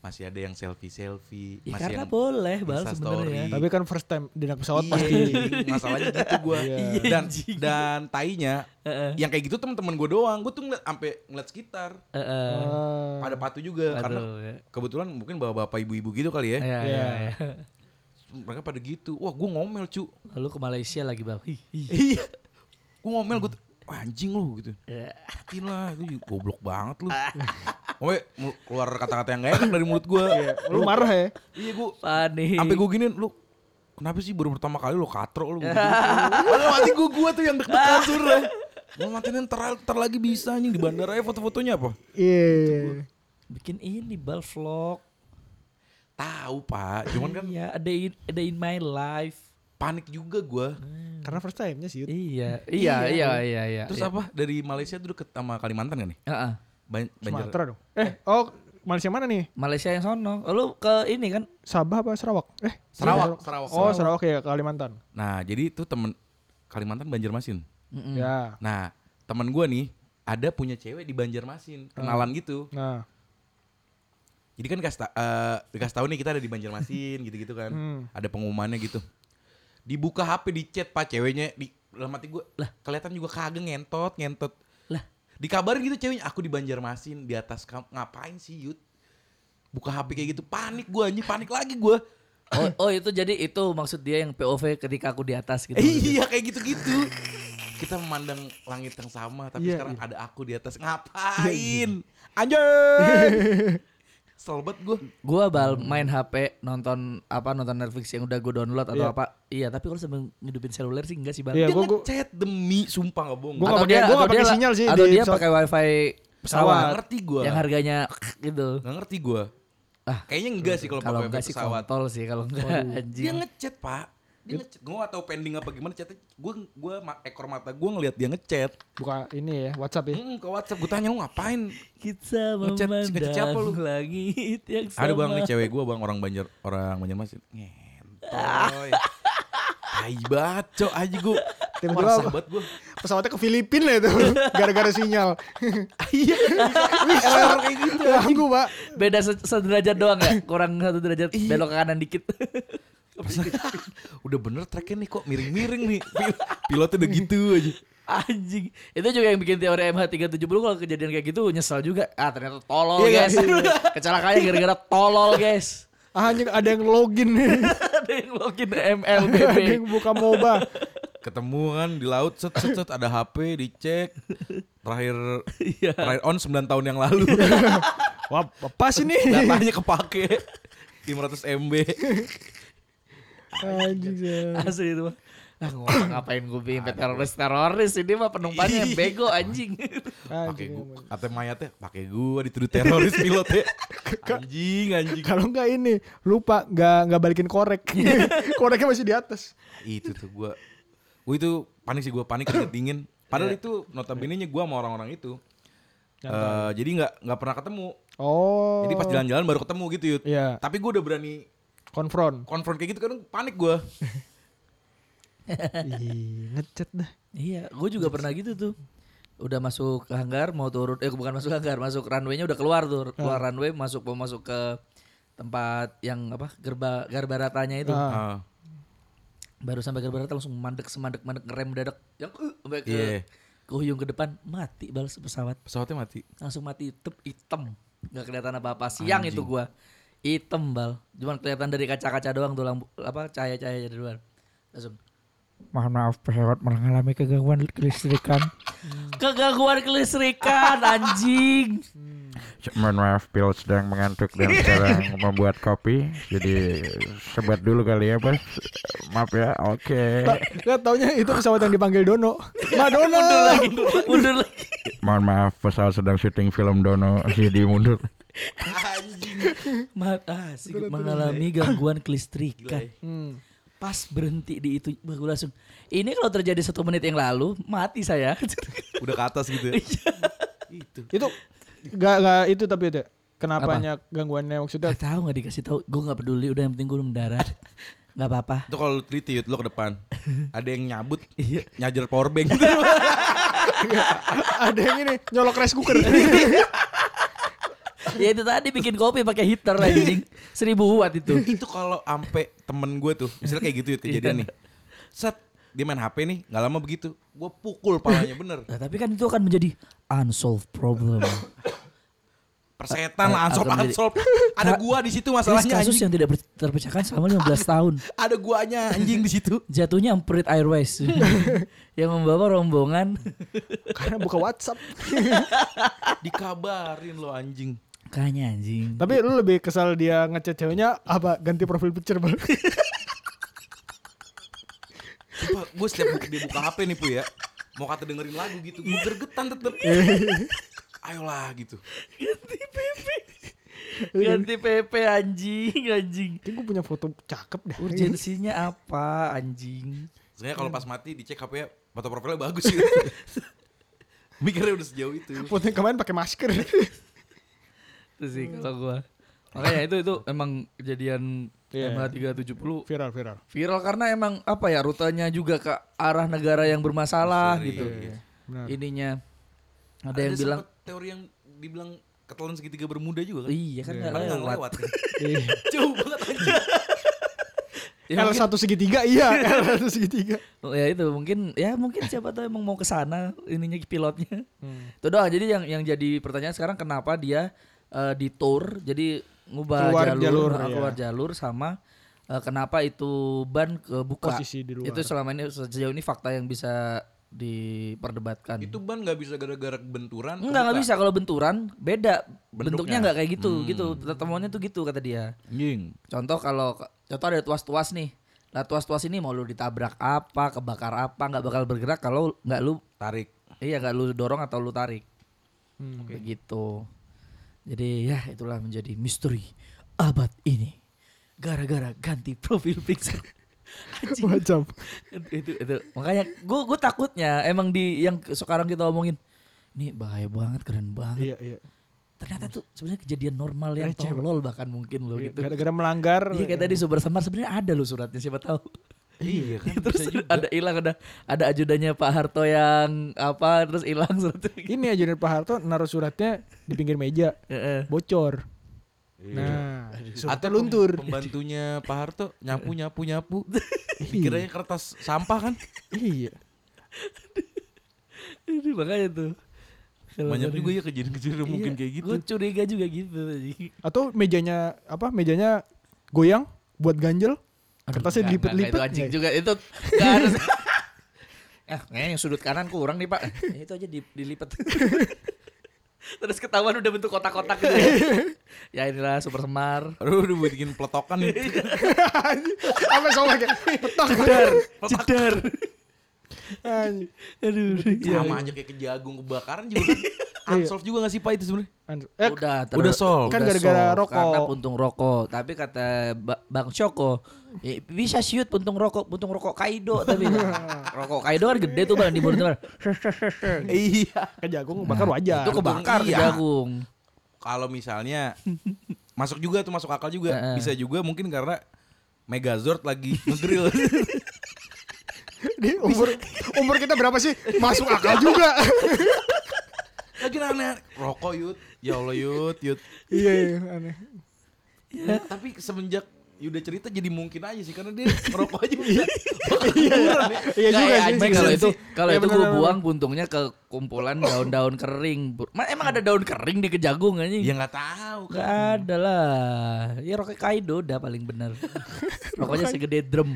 [SPEAKER 2] masih ada yang selfie selfie
[SPEAKER 3] Ya
[SPEAKER 2] masih
[SPEAKER 3] karena
[SPEAKER 2] yang
[SPEAKER 3] boleh bal sebenarnya.
[SPEAKER 1] Tapi kan first time di naik pesawat
[SPEAKER 2] Iya,
[SPEAKER 1] pasti.
[SPEAKER 2] masalahnya gitu gue
[SPEAKER 1] Iya.
[SPEAKER 2] dan dan tainya
[SPEAKER 3] Heeh.
[SPEAKER 2] yang kayak gitu temen-temen gue doang gue tuh ngeliat sampai ngeliat sekitar
[SPEAKER 3] Heeh.
[SPEAKER 1] Ah.
[SPEAKER 2] pada patuh juga karena
[SPEAKER 3] Aduh, ya.
[SPEAKER 2] kebetulan mungkin bapak-bapak ibu-ibu gitu kali ya
[SPEAKER 3] Iya, iya, iya.
[SPEAKER 2] mereka pada gitu wah gue ngomel cu
[SPEAKER 3] Lalu ke Malaysia lagi bal. Ih, ih.
[SPEAKER 2] iya gue ngomel gue anjing lu gitu
[SPEAKER 3] Ya.
[SPEAKER 2] matiin lah itu juga goblok banget lu Ngomel, mul- keluar kata-kata yang gak enak dari mulut gue
[SPEAKER 1] Lu marah ya?
[SPEAKER 2] iya gue
[SPEAKER 3] Panik.
[SPEAKER 2] sampai gue giniin lu kenapa sih baru pertama kali lu katro lu Padahal mati gue gue tuh yang deg-degan surah Gue matiin ntar, ntar lagi bisa anjing di bandara ya foto-fotonya apa?
[SPEAKER 1] Iya.
[SPEAKER 3] bikin ini bal vlog.
[SPEAKER 2] Tahu pak, cuman kan
[SPEAKER 3] Iya, ada in, ada in my life.
[SPEAKER 2] panik juga gue.
[SPEAKER 1] Karena first time-nya sih. Yud.
[SPEAKER 3] Iya, iya, iya, iya, iya.
[SPEAKER 2] Terus apa dari Malaysia tuh deket sama Kalimantan kan nih?
[SPEAKER 3] Heeh.
[SPEAKER 2] Ban- Banjar.
[SPEAKER 1] Sumatera dong. Eh, oh Malaysia mana nih?
[SPEAKER 3] Malaysia yang sono. Lu ke ini kan?
[SPEAKER 1] Sabah apa Sarawak? Eh,
[SPEAKER 2] Sarawak, Sarawak.
[SPEAKER 1] Oh, Sarawak ya Kalimantan.
[SPEAKER 2] Nah, jadi itu temen Kalimantan Banjarmasin.
[SPEAKER 1] Ya.
[SPEAKER 2] Nah, temen gua nih ada punya cewek di Banjarmasin,
[SPEAKER 3] Oh.
[SPEAKER 2] kenalan gitu.
[SPEAKER 1] Nah.
[SPEAKER 2] Jadi kan kasih ta- eh, dikasih tahu nih kita ada di Banjarmasin gitu-gitu kan.
[SPEAKER 1] Hmm.
[SPEAKER 2] Ada pengumumannya gitu. Dibuka HP di chat Pak ceweknya di dalam hati gue lah kelihatan juga kagak ngentot ngentot
[SPEAKER 3] Lah.
[SPEAKER 2] dikabarin gitu ceweknya aku di Banjarmasin di atas kam- ngapain sih Yud buka HP kayak gitu panik gua anjing panik lagi gua
[SPEAKER 3] Oh, oh itu jadi itu maksud dia yang POV ketika aku di atas gitu.
[SPEAKER 2] iya kayak gitu-gitu kita memandang langit yang sama tapi
[SPEAKER 1] Iya,
[SPEAKER 2] sekarang
[SPEAKER 1] iya.
[SPEAKER 2] ada aku di atas ngapain anjing Selbet gue
[SPEAKER 3] Gua bal main HP nonton apa nonton Netflix yang udah gue download atau
[SPEAKER 1] Iya.
[SPEAKER 3] apa. Iya, tapi kalau sambil ngidupin seluler sih enggak sih bal.
[SPEAKER 1] Iya,
[SPEAKER 2] dia
[SPEAKER 1] gua gua
[SPEAKER 2] ngechat demi sumpah nggak bohong
[SPEAKER 1] Gua nggak pakai- gua nggak pakai
[SPEAKER 3] la-
[SPEAKER 1] sinyal sih
[SPEAKER 3] Atau
[SPEAKER 1] di
[SPEAKER 3] dia
[SPEAKER 1] pesawat.
[SPEAKER 3] pakai wifi
[SPEAKER 2] Nggak
[SPEAKER 3] pesawat
[SPEAKER 2] ngerti gue
[SPEAKER 3] yang harganya gitu.
[SPEAKER 2] Gak ngerti gue
[SPEAKER 3] Ah,
[SPEAKER 2] Kayaknya enggak sih kalau iya.
[SPEAKER 3] kalau
[SPEAKER 2] pakai
[SPEAKER 3] enggak
[SPEAKER 2] wifi
[SPEAKER 3] sih
[SPEAKER 2] pesawat
[SPEAKER 3] kontol sih kalau enggak
[SPEAKER 2] Dia
[SPEAKER 3] anjing.
[SPEAKER 2] ngechat pak Dia ngechat Gue atau pending apa gimana chatnya Gue gua, ma- ekor mata gue ngeliat dia ngechat
[SPEAKER 1] buka ini ya, WhatsApp ya.
[SPEAKER 2] Hmm, ke whatsapp gue tanya lu ngapain
[SPEAKER 3] Kita
[SPEAKER 2] Ngechat- ngechat siapa lu?
[SPEAKER 3] memandang langit yang sama.
[SPEAKER 2] Aduh bang nih cewek gue bang orang Banjar Orang Banjarmasin Ngentoy Tai banget cok aja gue
[SPEAKER 1] Tiba-tiba
[SPEAKER 2] Marah
[SPEAKER 1] apa?
[SPEAKER 2] banget gue
[SPEAKER 1] Pesawatnya ke Filipina itu gara-gara sinyal.
[SPEAKER 2] Iya Error kayak gitu
[SPEAKER 1] Ah, Ganggu, Pak.
[SPEAKER 3] Beda se- sederajat doang ya, kurang satu derajat belok ke kanan dikit.
[SPEAKER 2] Udah bener tracknya nih kok miring-miring nih Pil- Pilotnya udah gitu aja
[SPEAKER 3] Anjing. Itu juga yang bikin teori MH370 kalau kejadian kayak gitu nyesel juga. Ah, ternyata tolol,
[SPEAKER 2] Iya,
[SPEAKER 3] guys.
[SPEAKER 2] kan?
[SPEAKER 3] Kecelakaannya gara-gara tolol, guys.
[SPEAKER 1] Ah, Hanya ada yang login.
[SPEAKER 3] Ada yang login
[SPEAKER 1] ada
[SPEAKER 3] MLBB.
[SPEAKER 1] yang buka MOBA.
[SPEAKER 2] ketemu kan di laut set set set ada HP dicek terakhir
[SPEAKER 3] Iya.
[SPEAKER 2] terakhir on 9 tahun yang lalu
[SPEAKER 1] Iya. Wah, apa sih nih?
[SPEAKER 2] datanya kepake 500 MB
[SPEAKER 1] Anjing. ya. Zah.
[SPEAKER 3] Asli itu mah. Ah, ngomong ngapain gue bikin teroris teroris ini mah penumpangnya yang bego anjing.
[SPEAKER 2] pakai
[SPEAKER 1] Anjing. ya,
[SPEAKER 2] gua atau mayatnya pakai gua dituduh teroris pilotnya anjing anjing
[SPEAKER 1] Kalau nggak ini lupa nggak nggak balikin korek. Koreknya masih di atas.
[SPEAKER 2] itu tuh gua gua itu panik sih gua panik keringet dingin padahal
[SPEAKER 1] Iya.
[SPEAKER 2] itu notabene nya gua sama orang-orang itu Eh, jadi nggak nggak pernah ketemu
[SPEAKER 1] Oh.
[SPEAKER 2] jadi pas jalan-jalan baru ketemu gitu yud
[SPEAKER 1] Iya.
[SPEAKER 2] tapi gua udah berani
[SPEAKER 1] konfront.
[SPEAKER 2] konfront kayak gitu kan panik gua
[SPEAKER 1] Ih, ngecet dah.
[SPEAKER 3] Iya, gue juga pernah gitu tuh. Udah masuk ke hanggar, mau turun, eh bukan masuk hanggar, masuk runway-nya udah keluar tuh, keluar runway, masuk mau masuk ke tempat yang apa gerba garbaratanya itu.
[SPEAKER 1] Ah.
[SPEAKER 2] Ah.
[SPEAKER 3] Baru sampai gerbarata langsung mandek semandek mandek ngerem dadak, yang uh, sampai ke
[SPEAKER 2] Iya.
[SPEAKER 3] ke huyung ke depan mati balas pesawat
[SPEAKER 2] pesawatnya mati
[SPEAKER 3] langsung mati hitam hitam nggak kelihatan apa apa siang itu gua hitam bal cuman kelihatan dari kaca-kaca doang tuh lampu apa cahaya-cahaya dari luar langsung
[SPEAKER 4] Mohon maaf pesawat mengalami kegangguan kelistrikan.
[SPEAKER 3] Kegangguan kelistrikan anjing.
[SPEAKER 4] Mohon maaf pilot sedang mengantuk dan sedang membuat kopi. Jadi sebat dulu kali ya bos. Maaf ya. Oke.
[SPEAKER 1] Ta- Gak taunya itu pesawat yang dipanggil Dono. Madonna.
[SPEAKER 3] Mundur lagi. Mundur lagi.
[SPEAKER 4] Mohon maaf pesawat sedang syuting film Dono. Jadi mundur.
[SPEAKER 3] Ma ah, sih, mengalami gangguan kelistrikan.
[SPEAKER 1] Hmm.
[SPEAKER 3] Pas berhenti di itu gue langsung. Ini kalau terjadi satu menit yang lalu mati saya.
[SPEAKER 2] Udah ke atas gitu ya.
[SPEAKER 3] Iya.
[SPEAKER 2] itu.
[SPEAKER 1] Itu gak, gak itu tapi itu. ya. Kenapanya gangguannya maksudnya?
[SPEAKER 3] Gak tahu nggak dikasih tahu. Gue nggak peduli. Udah yang penting gue mendarat. Gak apa-apa.
[SPEAKER 2] Itu kalau lu teliti Yud, lo ke depan. Ada yang nyabut,
[SPEAKER 3] Iya.
[SPEAKER 2] nyajer power bank.
[SPEAKER 1] Ada yang ini nyolok rice cooker.
[SPEAKER 3] ya itu tadi bikin kopi pakai heater anjing. Seribu watt itu.
[SPEAKER 2] itu kalau ampe temen gue tuh, misalnya kayak
[SPEAKER 3] Iya.
[SPEAKER 2] gitu Yud, kejadian nih. Set, dia main HP nih, nggak lama begitu. Gue pukul palanya bener.
[SPEAKER 3] Nah, tapi kan itu akan menjadi unsolved problem.
[SPEAKER 2] Persetan lah,
[SPEAKER 3] Akan
[SPEAKER 2] ansop,
[SPEAKER 3] menjadi-
[SPEAKER 2] ansop. Ada gua di situ
[SPEAKER 3] Terus
[SPEAKER 2] masalahnya.
[SPEAKER 3] kasus
[SPEAKER 2] anjing.
[SPEAKER 3] yang tidak ber- terpecahkan selama 15 tahun.
[SPEAKER 2] Ada guanya anjing di situ.
[SPEAKER 3] Jatuhnya Emprit Airways yang membawa rombongan.
[SPEAKER 1] Karena buka WhatsApp.
[SPEAKER 2] Dikabarin lo anjing.
[SPEAKER 3] Kayaknya anjing.
[SPEAKER 1] Tapi lu lebih kesal dia ngechat ceweknya apa ganti profil picture bal?
[SPEAKER 2] Sumpah, gue setiap bu- dia buka HP nih Pu ya Mau kata dengerin lagu gitu, gue gergetan tetep Ayolah gitu
[SPEAKER 3] Ganti PP anjing, anjing.
[SPEAKER 1] Ini gue punya foto cakep deh.
[SPEAKER 3] Urgensinya apa anjing?
[SPEAKER 2] Sebenernya kalau
[SPEAKER 3] Hmm.
[SPEAKER 2] pas mati dicek HP ya Foto profilnya bagus gitu Mikirnya udah sejauh itu
[SPEAKER 1] Foto yang kemarin pakai masker.
[SPEAKER 3] Itu sih kalau gua. Makanya itu itu emang kejadian
[SPEAKER 1] Iya.
[SPEAKER 3] MH370
[SPEAKER 1] viral viral.
[SPEAKER 3] viral karena emang apa ya rutenya juga ke arah negara yang bermasalah
[SPEAKER 2] Misteri,
[SPEAKER 3] gitu.
[SPEAKER 2] iya.
[SPEAKER 1] Benar.
[SPEAKER 3] Ininya ada, yang
[SPEAKER 2] sempet
[SPEAKER 3] bilang
[SPEAKER 2] Teori yang dibilang ketelan segitiga bermuda juga kan
[SPEAKER 3] iya kan nggak
[SPEAKER 2] Padahal nggak
[SPEAKER 3] lewat.
[SPEAKER 2] lewat kan. Jauh banget anjing
[SPEAKER 3] Ya,
[SPEAKER 1] L
[SPEAKER 3] mungkin-
[SPEAKER 1] satu segitiga iya. L satu segitiga.
[SPEAKER 3] ya itu mungkin ya mungkin siapa tahu emang mau ke sana ininya pilotnya.
[SPEAKER 1] Hmm.
[SPEAKER 3] Itu doang. Jadi yang yang jadi pertanyaan sekarang kenapa dia eh, di tour jadi ngubah
[SPEAKER 1] Keluar
[SPEAKER 3] jalur,
[SPEAKER 1] jalur,
[SPEAKER 3] ah,
[SPEAKER 1] iya.
[SPEAKER 3] keluar jalur sama eh, kenapa itu ban kebuka.
[SPEAKER 1] Posisi di luar.
[SPEAKER 3] Itu selama ini sejauh ini fakta yang bisa diperdebatkan.
[SPEAKER 2] Itu ban gak bisa gara-gara benturan
[SPEAKER 3] Enggak nggak bisa kalau benturan beda bentuknya
[SPEAKER 2] Bentuknya.
[SPEAKER 3] nggak kayak gitu
[SPEAKER 1] Hmm.
[SPEAKER 3] gitu temuannya tuh gitu kata dia.
[SPEAKER 2] Anjing
[SPEAKER 3] Contoh kalau contoh ada tuas-tuas nih. Lah tuas-tuas ini mau lu ditabrak apa, kebakar apa, nggak bakal bergerak kalau nggak lu
[SPEAKER 2] Tarik
[SPEAKER 3] iya nggak lu dorong atau lu tarik.
[SPEAKER 1] Hmm.
[SPEAKER 3] Begitu. Jadi ya itulah menjadi misteri abad ini. Gara-gara ganti profil picture. Anjing.
[SPEAKER 1] Macam.
[SPEAKER 3] itu, itu makanya gue gue takutnya emang di yang sekarang kita omongin ini bahaya banget keren
[SPEAKER 1] Iya
[SPEAKER 3] banget
[SPEAKER 1] iya.
[SPEAKER 3] ternyata tuh sebenarnya kejadian normal yang
[SPEAKER 1] Receh banget.
[SPEAKER 3] tolol bahkan mungkin loh gitu
[SPEAKER 1] Gara-gara melanggar.
[SPEAKER 3] Iya kayak tadi sumber samar sebenarnya ada loh suratnya siapa tahu.
[SPEAKER 2] Iya kan
[SPEAKER 3] terus ada hilang ada ada ajudannya Pak Harto yang apa terus hilang suratnya.
[SPEAKER 1] Ini aja Pak Harto naruh suratnya di pinggir meja.
[SPEAKER 3] Heeh.
[SPEAKER 1] Bocor.
[SPEAKER 3] Iya.
[SPEAKER 1] Nah, suratnya
[SPEAKER 2] Atau
[SPEAKER 1] luntur.
[SPEAKER 2] pem- Pembantunya Pak Harto nyapu nyapu nyapu. Pikirannya kertas sampah kan.
[SPEAKER 1] Iya.
[SPEAKER 3] Ini makanya tuh. Kalau
[SPEAKER 2] Banyak
[SPEAKER 3] ada-
[SPEAKER 2] juga ya kejadian-kejadian
[SPEAKER 3] Iya,
[SPEAKER 2] mungkin kayak gitu.
[SPEAKER 3] Gue curiga juga gitu.
[SPEAKER 1] Atau mejanya apa? Mejanya goyang buat ganjel. Kertasnya
[SPEAKER 3] Nggak, nggak, nggak,
[SPEAKER 1] dilipet-lipet.
[SPEAKER 3] Itu anjing juga itu. Gak harus. Eh, kayaknya yang sudut kanan kurang nih pak. Eh, itu aja di- dilipet. Terus ketahuan udah bentuk kotak-kotak gitu ya. ya inilah super semar.
[SPEAKER 2] gitu. Aduh, udah buat bikin peletokan nih.
[SPEAKER 1] Sampai sama kayak petak.
[SPEAKER 3] Jedar.
[SPEAKER 1] Anjing.
[SPEAKER 3] Aduh.
[SPEAKER 2] Sama
[SPEAKER 3] iya.
[SPEAKER 2] aja kayak kejagung kebakaran juga kan. Unsolved juga gak sih Pak itu sebenarnya?
[SPEAKER 1] Anjing. Eh,
[SPEAKER 3] udah ter-
[SPEAKER 2] udah solve.
[SPEAKER 1] Kan gara-gara
[SPEAKER 3] solve
[SPEAKER 1] rokok.
[SPEAKER 3] karena puntung rokok tapi kata Ba- bang Syoko "Eh, bisa shoot puntung rokok puntung rokok kaido tapi rokok kaido kan gede tuh bang di mulut Bang.
[SPEAKER 2] Iya.
[SPEAKER 1] kejagung bakar wajar.
[SPEAKER 3] itu kebakar di
[SPEAKER 2] iya.
[SPEAKER 3] jagung
[SPEAKER 2] Kalau misalnya masuk juga tuh masuk akal
[SPEAKER 3] Heeh.
[SPEAKER 2] juga. Bisa juga mungkin karena Megazord lagi ngegrill.
[SPEAKER 1] Di umur umur kita berapa sih? Masuk akal juga.
[SPEAKER 2] lagi aneh. Rokok Yud. Ya Allah Yud, Yud.
[SPEAKER 1] iya, iya, aneh.
[SPEAKER 2] Iya, Tapi semenjak Yuda cerita jadi mungkin aja sih karena dia ngerokok aja
[SPEAKER 3] Iya.
[SPEAKER 2] bisa. Bakar kuburan
[SPEAKER 1] Iya
[SPEAKER 2] ya.
[SPEAKER 3] Nggak,
[SPEAKER 1] juga
[SPEAKER 3] ya,
[SPEAKER 1] sih.
[SPEAKER 3] anjing, kalau itu kalau
[SPEAKER 1] Iya,
[SPEAKER 3] itu
[SPEAKER 1] benar,
[SPEAKER 3] gue
[SPEAKER 1] benar.
[SPEAKER 3] buang puntungnya ke kumpulan daun-daun kering Bur- Ma- emang ada daun kering di kejagung
[SPEAKER 1] Iya.
[SPEAKER 2] Ya
[SPEAKER 3] anjing
[SPEAKER 2] nggak tahu kan.
[SPEAKER 3] Gak ada lah Ya rokok kaido udah paling bener Rokoknya segede drum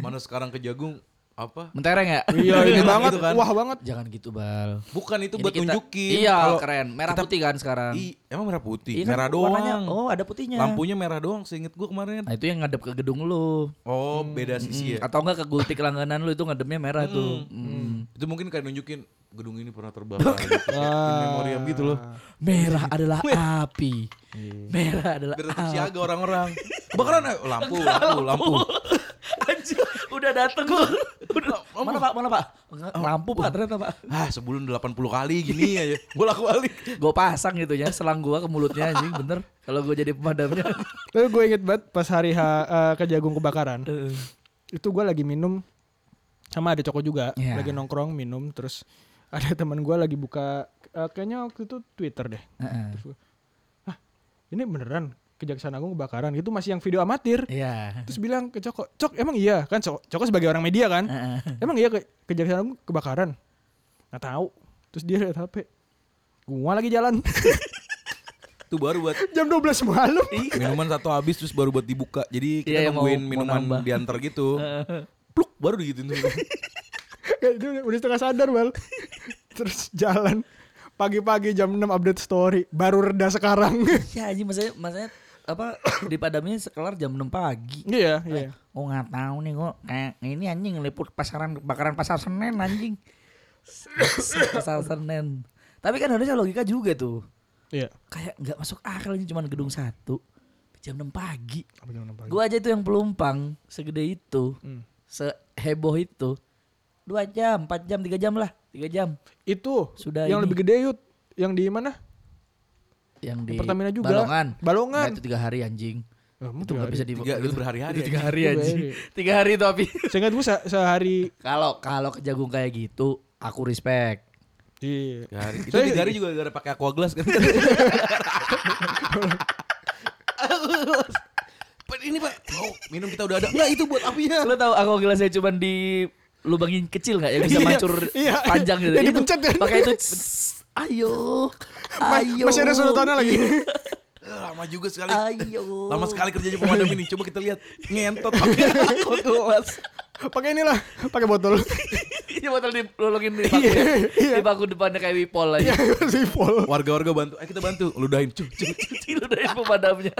[SPEAKER 2] Mana sekarang ke Jagung apa?
[SPEAKER 3] Mentereng ya?
[SPEAKER 1] Iya ini
[SPEAKER 2] Gitu
[SPEAKER 1] banget,
[SPEAKER 2] kan.
[SPEAKER 1] wah banget.
[SPEAKER 3] Jangan gitu, Bal.
[SPEAKER 2] Bukan itu
[SPEAKER 3] Ini
[SPEAKER 2] buat
[SPEAKER 3] kita-
[SPEAKER 2] nunjukin.
[SPEAKER 3] Iya,
[SPEAKER 2] kalau-
[SPEAKER 3] keren. Merah
[SPEAKER 2] kita-
[SPEAKER 3] putih kan sekarang.
[SPEAKER 2] Ih, emang merah putih,
[SPEAKER 3] Ini
[SPEAKER 2] merah doang.
[SPEAKER 3] Iya kan? warnanya- Oh, ada putihnya.
[SPEAKER 2] Lampunya merah doang, seinget gua kemarin.
[SPEAKER 3] Nah, itu yang ngadep ke gedung lu.
[SPEAKER 2] Oh, beda sisi ya.
[SPEAKER 3] Mm, Atau enggak ke gultik langganan lu itu ngadepnya merah tuh.
[SPEAKER 2] Hmm.
[SPEAKER 3] Mm.
[SPEAKER 2] Itu mungkin kayak nunjukin gedung ini pernah terbakar gitu.
[SPEAKER 3] Ah.
[SPEAKER 2] In memoriam gitu loh.
[SPEAKER 3] Merah adalah api.
[SPEAKER 2] Iya.
[SPEAKER 3] Merah adalah
[SPEAKER 2] Biar tetap
[SPEAKER 3] api.
[SPEAKER 2] siaga orang-orang. Kebakaran eh, lampu, lampu, lampu.
[SPEAKER 3] Anjir, udah dateng gua. Udah, mana Pak? Mana Pak? Enggak,
[SPEAKER 2] Oh,
[SPEAKER 3] Lampu Pak ternyata Pak.
[SPEAKER 2] Ah, sebelum 80 kali gini ya, aja. Bolak-balik.
[SPEAKER 3] Gue pasang gitu ya, selang gua ke mulutnya anjing, bener. Kalau gue jadi pemadamnya.
[SPEAKER 1] Lalu gue inget banget pas hari H, eh, ke jagung kebakaran. itu gue lagi minum sama ada coko juga
[SPEAKER 3] Iya.
[SPEAKER 1] lagi nongkrong minum terus ada teman gue lagi buka eh, kayaknya waktu itu twitter deh
[SPEAKER 3] Heeh.
[SPEAKER 1] Terus gua, "Hah, ini beneran kejaksaan agung kebakaran itu masih yang video amatir
[SPEAKER 3] Iya.
[SPEAKER 1] terus bilang ke coko cok emang iya kan coko, Coko sebagai orang media kan
[SPEAKER 3] Heeh.
[SPEAKER 1] emang iya ke, kejaksaan agung kebakaran nggak tahu terus dia lihat hp gua lagi jalan
[SPEAKER 2] Itu baru buat
[SPEAKER 1] jam 12 malam
[SPEAKER 2] minuman satu habis terus baru buat dibuka. Jadi kita
[SPEAKER 3] Iya, yang mau-
[SPEAKER 2] nungguin
[SPEAKER 3] mau
[SPEAKER 2] minuman
[SPEAKER 3] nambah.
[SPEAKER 2] diantar gitu. Pluk baru digituin tuh.
[SPEAKER 1] Kayak dia udah, udah setengah sadar bal terus jalan pagi-pagi jam 6 update story baru reda sekarang
[SPEAKER 3] Iya anjing, maksudnya, maksudnya apa dipadamnya sekelar jam 6 pagi.
[SPEAKER 1] iya iya
[SPEAKER 3] Gue Oh, nggak tahu nih gue kayak ini anjing ngeliput pasaran kebakaran pasar Senen anjing. pasar Senen. Tapi kan harusnya logika juga tuh.
[SPEAKER 1] iya
[SPEAKER 3] Kayak nggak masuk akal ini cuman gedung satu jam 6 pagi.
[SPEAKER 1] apa jam 6 pagi
[SPEAKER 3] Gue aja tuh yang pelumpang segede itu,
[SPEAKER 1] Hmm.
[SPEAKER 3] seheboh itu. Dua jam, empat jam, tiga jam lah, tiga jam.
[SPEAKER 1] itu
[SPEAKER 3] Sudah
[SPEAKER 1] yang
[SPEAKER 3] ini.
[SPEAKER 1] lebih gede yut yang di mana
[SPEAKER 3] Yang di
[SPEAKER 1] Pertamina juga.
[SPEAKER 3] Balongan.
[SPEAKER 1] Balongan.
[SPEAKER 3] Nggak, itu tiga hari anjing.
[SPEAKER 1] Eh,
[SPEAKER 3] Itu nggak bisa di.
[SPEAKER 2] Tiga itu berhari-hari.
[SPEAKER 3] itu tiga
[SPEAKER 2] anjing.
[SPEAKER 3] hari
[SPEAKER 1] Tiga
[SPEAKER 3] anjing.
[SPEAKER 1] hari.
[SPEAKER 3] Tiga hari tapi.
[SPEAKER 1] seingat gue se- sehari
[SPEAKER 3] Kalau kalau kejagung kayak gitu, aku respect.
[SPEAKER 1] di
[SPEAKER 2] Tiga hari. Itu
[SPEAKER 1] Saya-
[SPEAKER 2] tiga hari juga gara pakai aqua glass kan. Pak, ini pak, mau minum kita udah ada. Enggak itu buat apinya.
[SPEAKER 3] Lo tau aku gelasnya cuman di lubangin kecil nggak yang bisa
[SPEAKER 1] Iya,
[SPEAKER 3] mancur
[SPEAKER 1] iya.
[SPEAKER 3] panjang gitu.
[SPEAKER 1] Yang
[SPEAKER 3] Itu,
[SPEAKER 1] dipencet kan?
[SPEAKER 3] Pakai itu. "Tss, Ayo.
[SPEAKER 1] Ma-
[SPEAKER 3] Ayo. Iya,
[SPEAKER 1] masih ada sedotannya lagi
[SPEAKER 2] Eh, Lama juga sekali.
[SPEAKER 3] Ayo.
[SPEAKER 2] Lama sekali kerjanya pemadam ini. Coba kita lihat. Ngentot.
[SPEAKER 3] Aku gelas.
[SPEAKER 1] pakai inilah pakai botol
[SPEAKER 3] Ini botol dilolongin di paku. ya?
[SPEAKER 1] Iya, iya.
[SPEAKER 3] Di paku depannya kayak wipol aja.
[SPEAKER 1] ya sipol
[SPEAKER 2] Warga-warga bantu. Eh kita bantu. Ludahin. Cuk, cuk.
[SPEAKER 3] Kecil udah yang pemadamnya.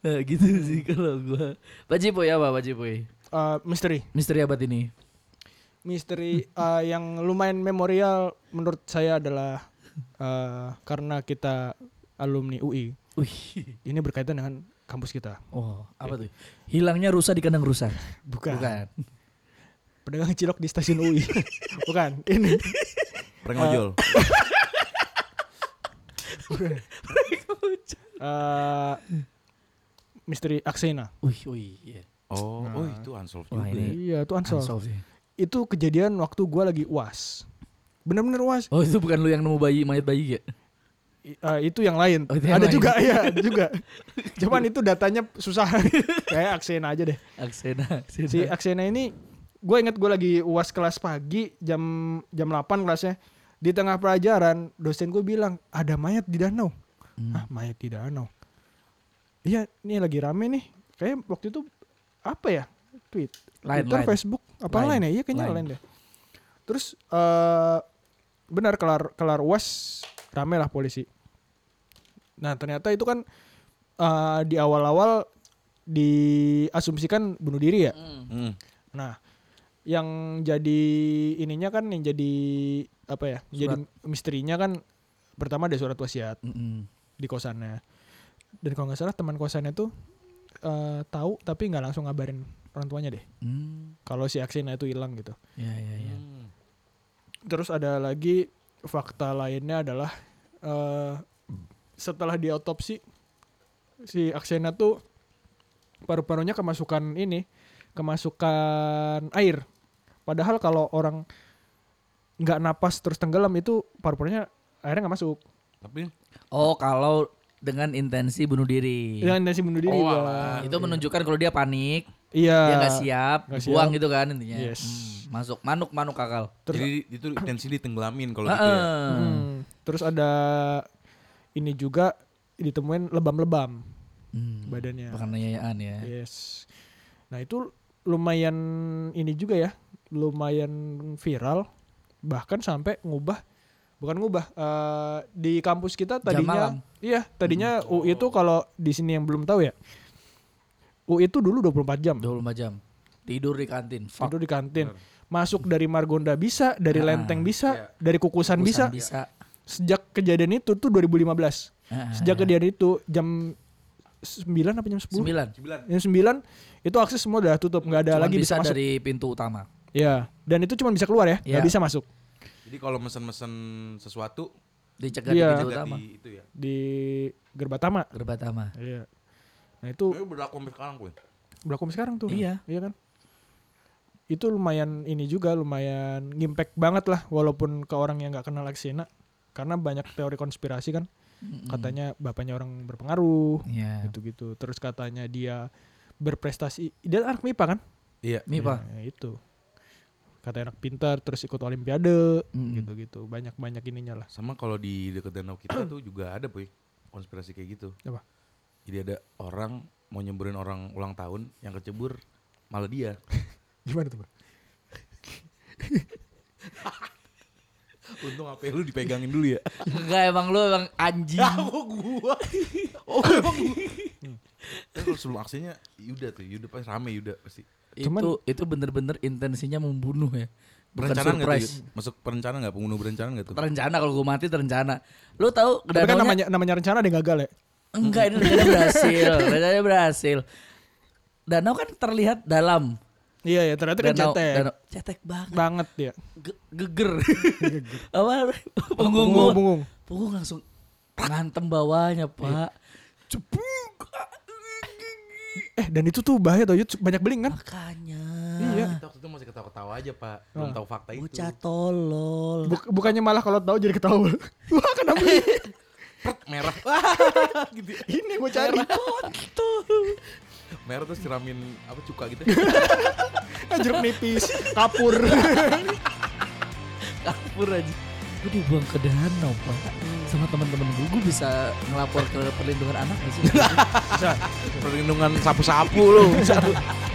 [SPEAKER 3] nah gitu sih kalau gua. Pak Cipuy apa Pak Cipuy?
[SPEAKER 1] Eh, misteri
[SPEAKER 3] Misteri abad ini.
[SPEAKER 1] misteri eh, yang lumayan memorial menurut saya adalah eh, karena kita alumni UI
[SPEAKER 3] Wih.
[SPEAKER 1] ini berkaitan dengan kampus kita
[SPEAKER 3] Oh, apa tuh? Hilangnya rusa di kandang rusa.
[SPEAKER 1] Bukan.
[SPEAKER 3] Bukan.
[SPEAKER 1] pedagang cilok di stasiun UI bukan ini
[SPEAKER 2] Prengojol.
[SPEAKER 1] eh, misteri Aksena
[SPEAKER 3] Wih, wih, iya.
[SPEAKER 2] Oh, oh itu unsolved
[SPEAKER 3] Wah,
[SPEAKER 2] juga.
[SPEAKER 3] ini-
[SPEAKER 1] iya itu unsolved
[SPEAKER 3] Unsolved sih.
[SPEAKER 1] itu kejadian waktu gua lagi uas bener-bener uas
[SPEAKER 3] Oh, itu bukan lu yang nemu bayi, mayat bayi ya?
[SPEAKER 1] I- eh, itu yang lain
[SPEAKER 3] Oh, itu yang
[SPEAKER 1] ada
[SPEAKER 3] lain.
[SPEAKER 1] juga ya ada juga cuman itu datanya susah kayak Aksena aja deh
[SPEAKER 3] Aksena, Aksena.
[SPEAKER 1] si Aksena ini gue inget gue lagi uas kelas pagi jam jam 8 kelasnya di tengah pelajaran dosen gue bilang ada mayat di danau
[SPEAKER 3] Hmm.
[SPEAKER 1] ah mayat di danau iya ini lagi rame nih kayak waktu itu apa ya tweet
[SPEAKER 3] Lain,
[SPEAKER 1] Twitter
[SPEAKER 3] lain.
[SPEAKER 1] Facebook apa
[SPEAKER 3] Lain.
[SPEAKER 1] lain, ya iya kayaknya
[SPEAKER 3] Lain.
[SPEAKER 1] lain, deh terus eh benar kelar kelar uas rame lah polisi nah ternyata itu kan eh, di awal-awal diasumsikan bunuh diri ya
[SPEAKER 2] Hmm.
[SPEAKER 1] Nah, yang jadi ininya kan yang jadi apa ya? yang Jadi misterinya kan pertama ada surat wasiat
[SPEAKER 3] Mm-mm.
[SPEAKER 1] di kosannya. Dan kalau nggak salah teman kosannya tuh eh, tahu tapi nggak langsung ngabarin orang tuanya deh.
[SPEAKER 3] Hmm.
[SPEAKER 1] Kalau si Aksena itu hilang gitu.
[SPEAKER 3] Ya, ya, ya.
[SPEAKER 2] Hmm.
[SPEAKER 1] Terus ada lagi fakta lainnya adalah eh, setelah diautopsi si Aksena tuh paru-parunya kemasukan ini, kemasukan air. Padahal kalau orang nggak napas terus tenggelam itu paru-parunya airnya nggak masuk.
[SPEAKER 2] Tapi
[SPEAKER 3] Oh, kalau dengan intensi bunuh diri.
[SPEAKER 1] Dengan intensi bunuh diri.
[SPEAKER 3] Oh,
[SPEAKER 1] Bang.
[SPEAKER 3] alah. itu menunjukkan kalau dia panik,
[SPEAKER 1] Iya.
[SPEAKER 3] dia nggak siap,
[SPEAKER 1] nggak siap.
[SPEAKER 3] buang gitu kan intinya.
[SPEAKER 1] Yes.
[SPEAKER 3] Hmm, masuk manuk manuk akal.
[SPEAKER 1] Terus-
[SPEAKER 2] jadi itu tensi tenggelamin kalau gitu ya.
[SPEAKER 3] Heeh.
[SPEAKER 1] Hmm. Terus ada ini juga ditemuin lebam-lebam
[SPEAKER 3] Hmm.
[SPEAKER 1] badannya. Iya.
[SPEAKER 3] Penganiayaan ya.
[SPEAKER 1] Yes. Nah itu lumayan ini juga ya, lumayan viral. Bahkan sampai ngubah, bukan ngubah eh, di kampus kita
[SPEAKER 3] malam. Hmm.
[SPEAKER 1] tadinya, iya tadinya UI itu kalau di sini yang belum tahu ya, UI itu dulu 24 jam.
[SPEAKER 3] 25 jam. Tidur di kantin. Fuck.
[SPEAKER 1] Tidur di kantin. Masuk dari Margonda bisa, dari
[SPEAKER 3] Ah,
[SPEAKER 1] Lenteng bisa, dari Kukusan, bisa.
[SPEAKER 3] Kukusan bisa.
[SPEAKER 1] Sejak kejadian itu tuh 2015.
[SPEAKER 3] Ah,
[SPEAKER 1] Sejak kejadian itu jam 9 apa jam 10?
[SPEAKER 3] 9.
[SPEAKER 1] Yang 9 itu akses semua udah tutup, nggak ada
[SPEAKER 3] Cuman
[SPEAKER 1] lagi bisa,
[SPEAKER 3] bisa,
[SPEAKER 1] masuk.
[SPEAKER 3] dari pintu utama.
[SPEAKER 1] Ya, dan itu cuma bisa keluar ya, nggak
[SPEAKER 3] Iya.
[SPEAKER 1] bisa masuk
[SPEAKER 2] Jadi kalau mesen-mesen sesuatu
[SPEAKER 1] Iya.
[SPEAKER 3] Dicegah di pintu
[SPEAKER 2] lihat
[SPEAKER 3] utama.
[SPEAKER 2] di itu ya.
[SPEAKER 1] di Gerbatama.
[SPEAKER 3] Gerbatama.
[SPEAKER 1] Iya. Nah itu
[SPEAKER 2] Tapi berlaku sampai sekarang gue.
[SPEAKER 1] berlaku sampai sekarang tuh.
[SPEAKER 3] Iya.
[SPEAKER 1] Iya kan? Itu lumayan ini juga lumayan ngimpact banget lah walaupun ke orang yang nggak kenal Aksena karena banyak teori konspirasi kan. Katanya bapaknya orang berpengaruh
[SPEAKER 3] Iya.
[SPEAKER 1] gitu-gitu. Terus katanya dia berprestasi. Dia anak MIPA kan?
[SPEAKER 2] Iya.
[SPEAKER 3] Mipa.
[SPEAKER 1] Ya, itu. Kata anak pintar terus ikut olimpiade
[SPEAKER 3] Mm-mm.
[SPEAKER 1] gitu-gitu. Banyak-banyak ininya lah.
[SPEAKER 2] Sama kalau di dekat danau kita tuh juga ada, Boy. Konspirasi kayak gitu.
[SPEAKER 1] Apa?
[SPEAKER 2] Jadi ada orang mau nyemburin orang ulang tahun yang kecebur malah dia.
[SPEAKER 1] Gimana tuh, Bang?
[SPEAKER 2] Untung apa lu dipegangin dulu ya.
[SPEAKER 3] Enggak emang lu emang anjing.
[SPEAKER 1] Ah.
[SPEAKER 2] kok gua? Oh, emang gua. Kan kalau sebelum aksinya Yuda tuh, Yuda pasti rame Yuda pasti.
[SPEAKER 1] Cuman-
[SPEAKER 3] itu itu bener-bener intensinya membunuh ya. Bukan
[SPEAKER 2] Perencanaan nggak tuh?
[SPEAKER 3] surprise.
[SPEAKER 2] Yud? Masuk perencanaan nggak? Pembunuh berencana nggak tuh?
[SPEAKER 3] Terencana kalau gue mati terencana. Lu tahu
[SPEAKER 1] Tapi kan
[SPEAKER 3] danaunya-
[SPEAKER 1] namanya namanya rencana ada yang gagal ya.
[SPEAKER 3] Enggak ini rencananya berhasil. rencananya berhasil. Danau kan terlihat dalam.
[SPEAKER 1] Iya ya, ternyata kan
[SPEAKER 3] danau,
[SPEAKER 1] cetek
[SPEAKER 3] danau- cetek banget.
[SPEAKER 1] banget ya.
[SPEAKER 3] Ge- geger. Apa? Punggung.
[SPEAKER 1] Bungung,
[SPEAKER 3] gua-
[SPEAKER 1] bungung.
[SPEAKER 3] Punggung langsung ngantem bawahnya,
[SPEAKER 1] Iya.
[SPEAKER 3] Pak. Cepuk.
[SPEAKER 1] Eh, dan itu tuh bahaya tau, Yud. banyak beling kan?
[SPEAKER 3] Makanya.
[SPEAKER 1] Iya.
[SPEAKER 2] Kita waktu itu masih ketawa-ketawa aja pak, belum tahu fakta itu.
[SPEAKER 3] Oh. Bocah tolol.
[SPEAKER 1] Buk- bukannya malah kalau tahu jadi ketawa. Wah, kenapa ini?
[SPEAKER 2] Pert, merah, Wah, gitu.
[SPEAKER 1] ini yang gue cari.
[SPEAKER 2] merah terus ceramin apa cuka gitu.
[SPEAKER 1] Ah, Jeruk nipis, kapur.
[SPEAKER 3] Kapur aja. Gue dibuang ke danau, Pak. Sama teman-teman gue, gue bisa ngelapor ke perlindungan anak gak sih?
[SPEAKER 2] Perlindungan sapu-sapu lu.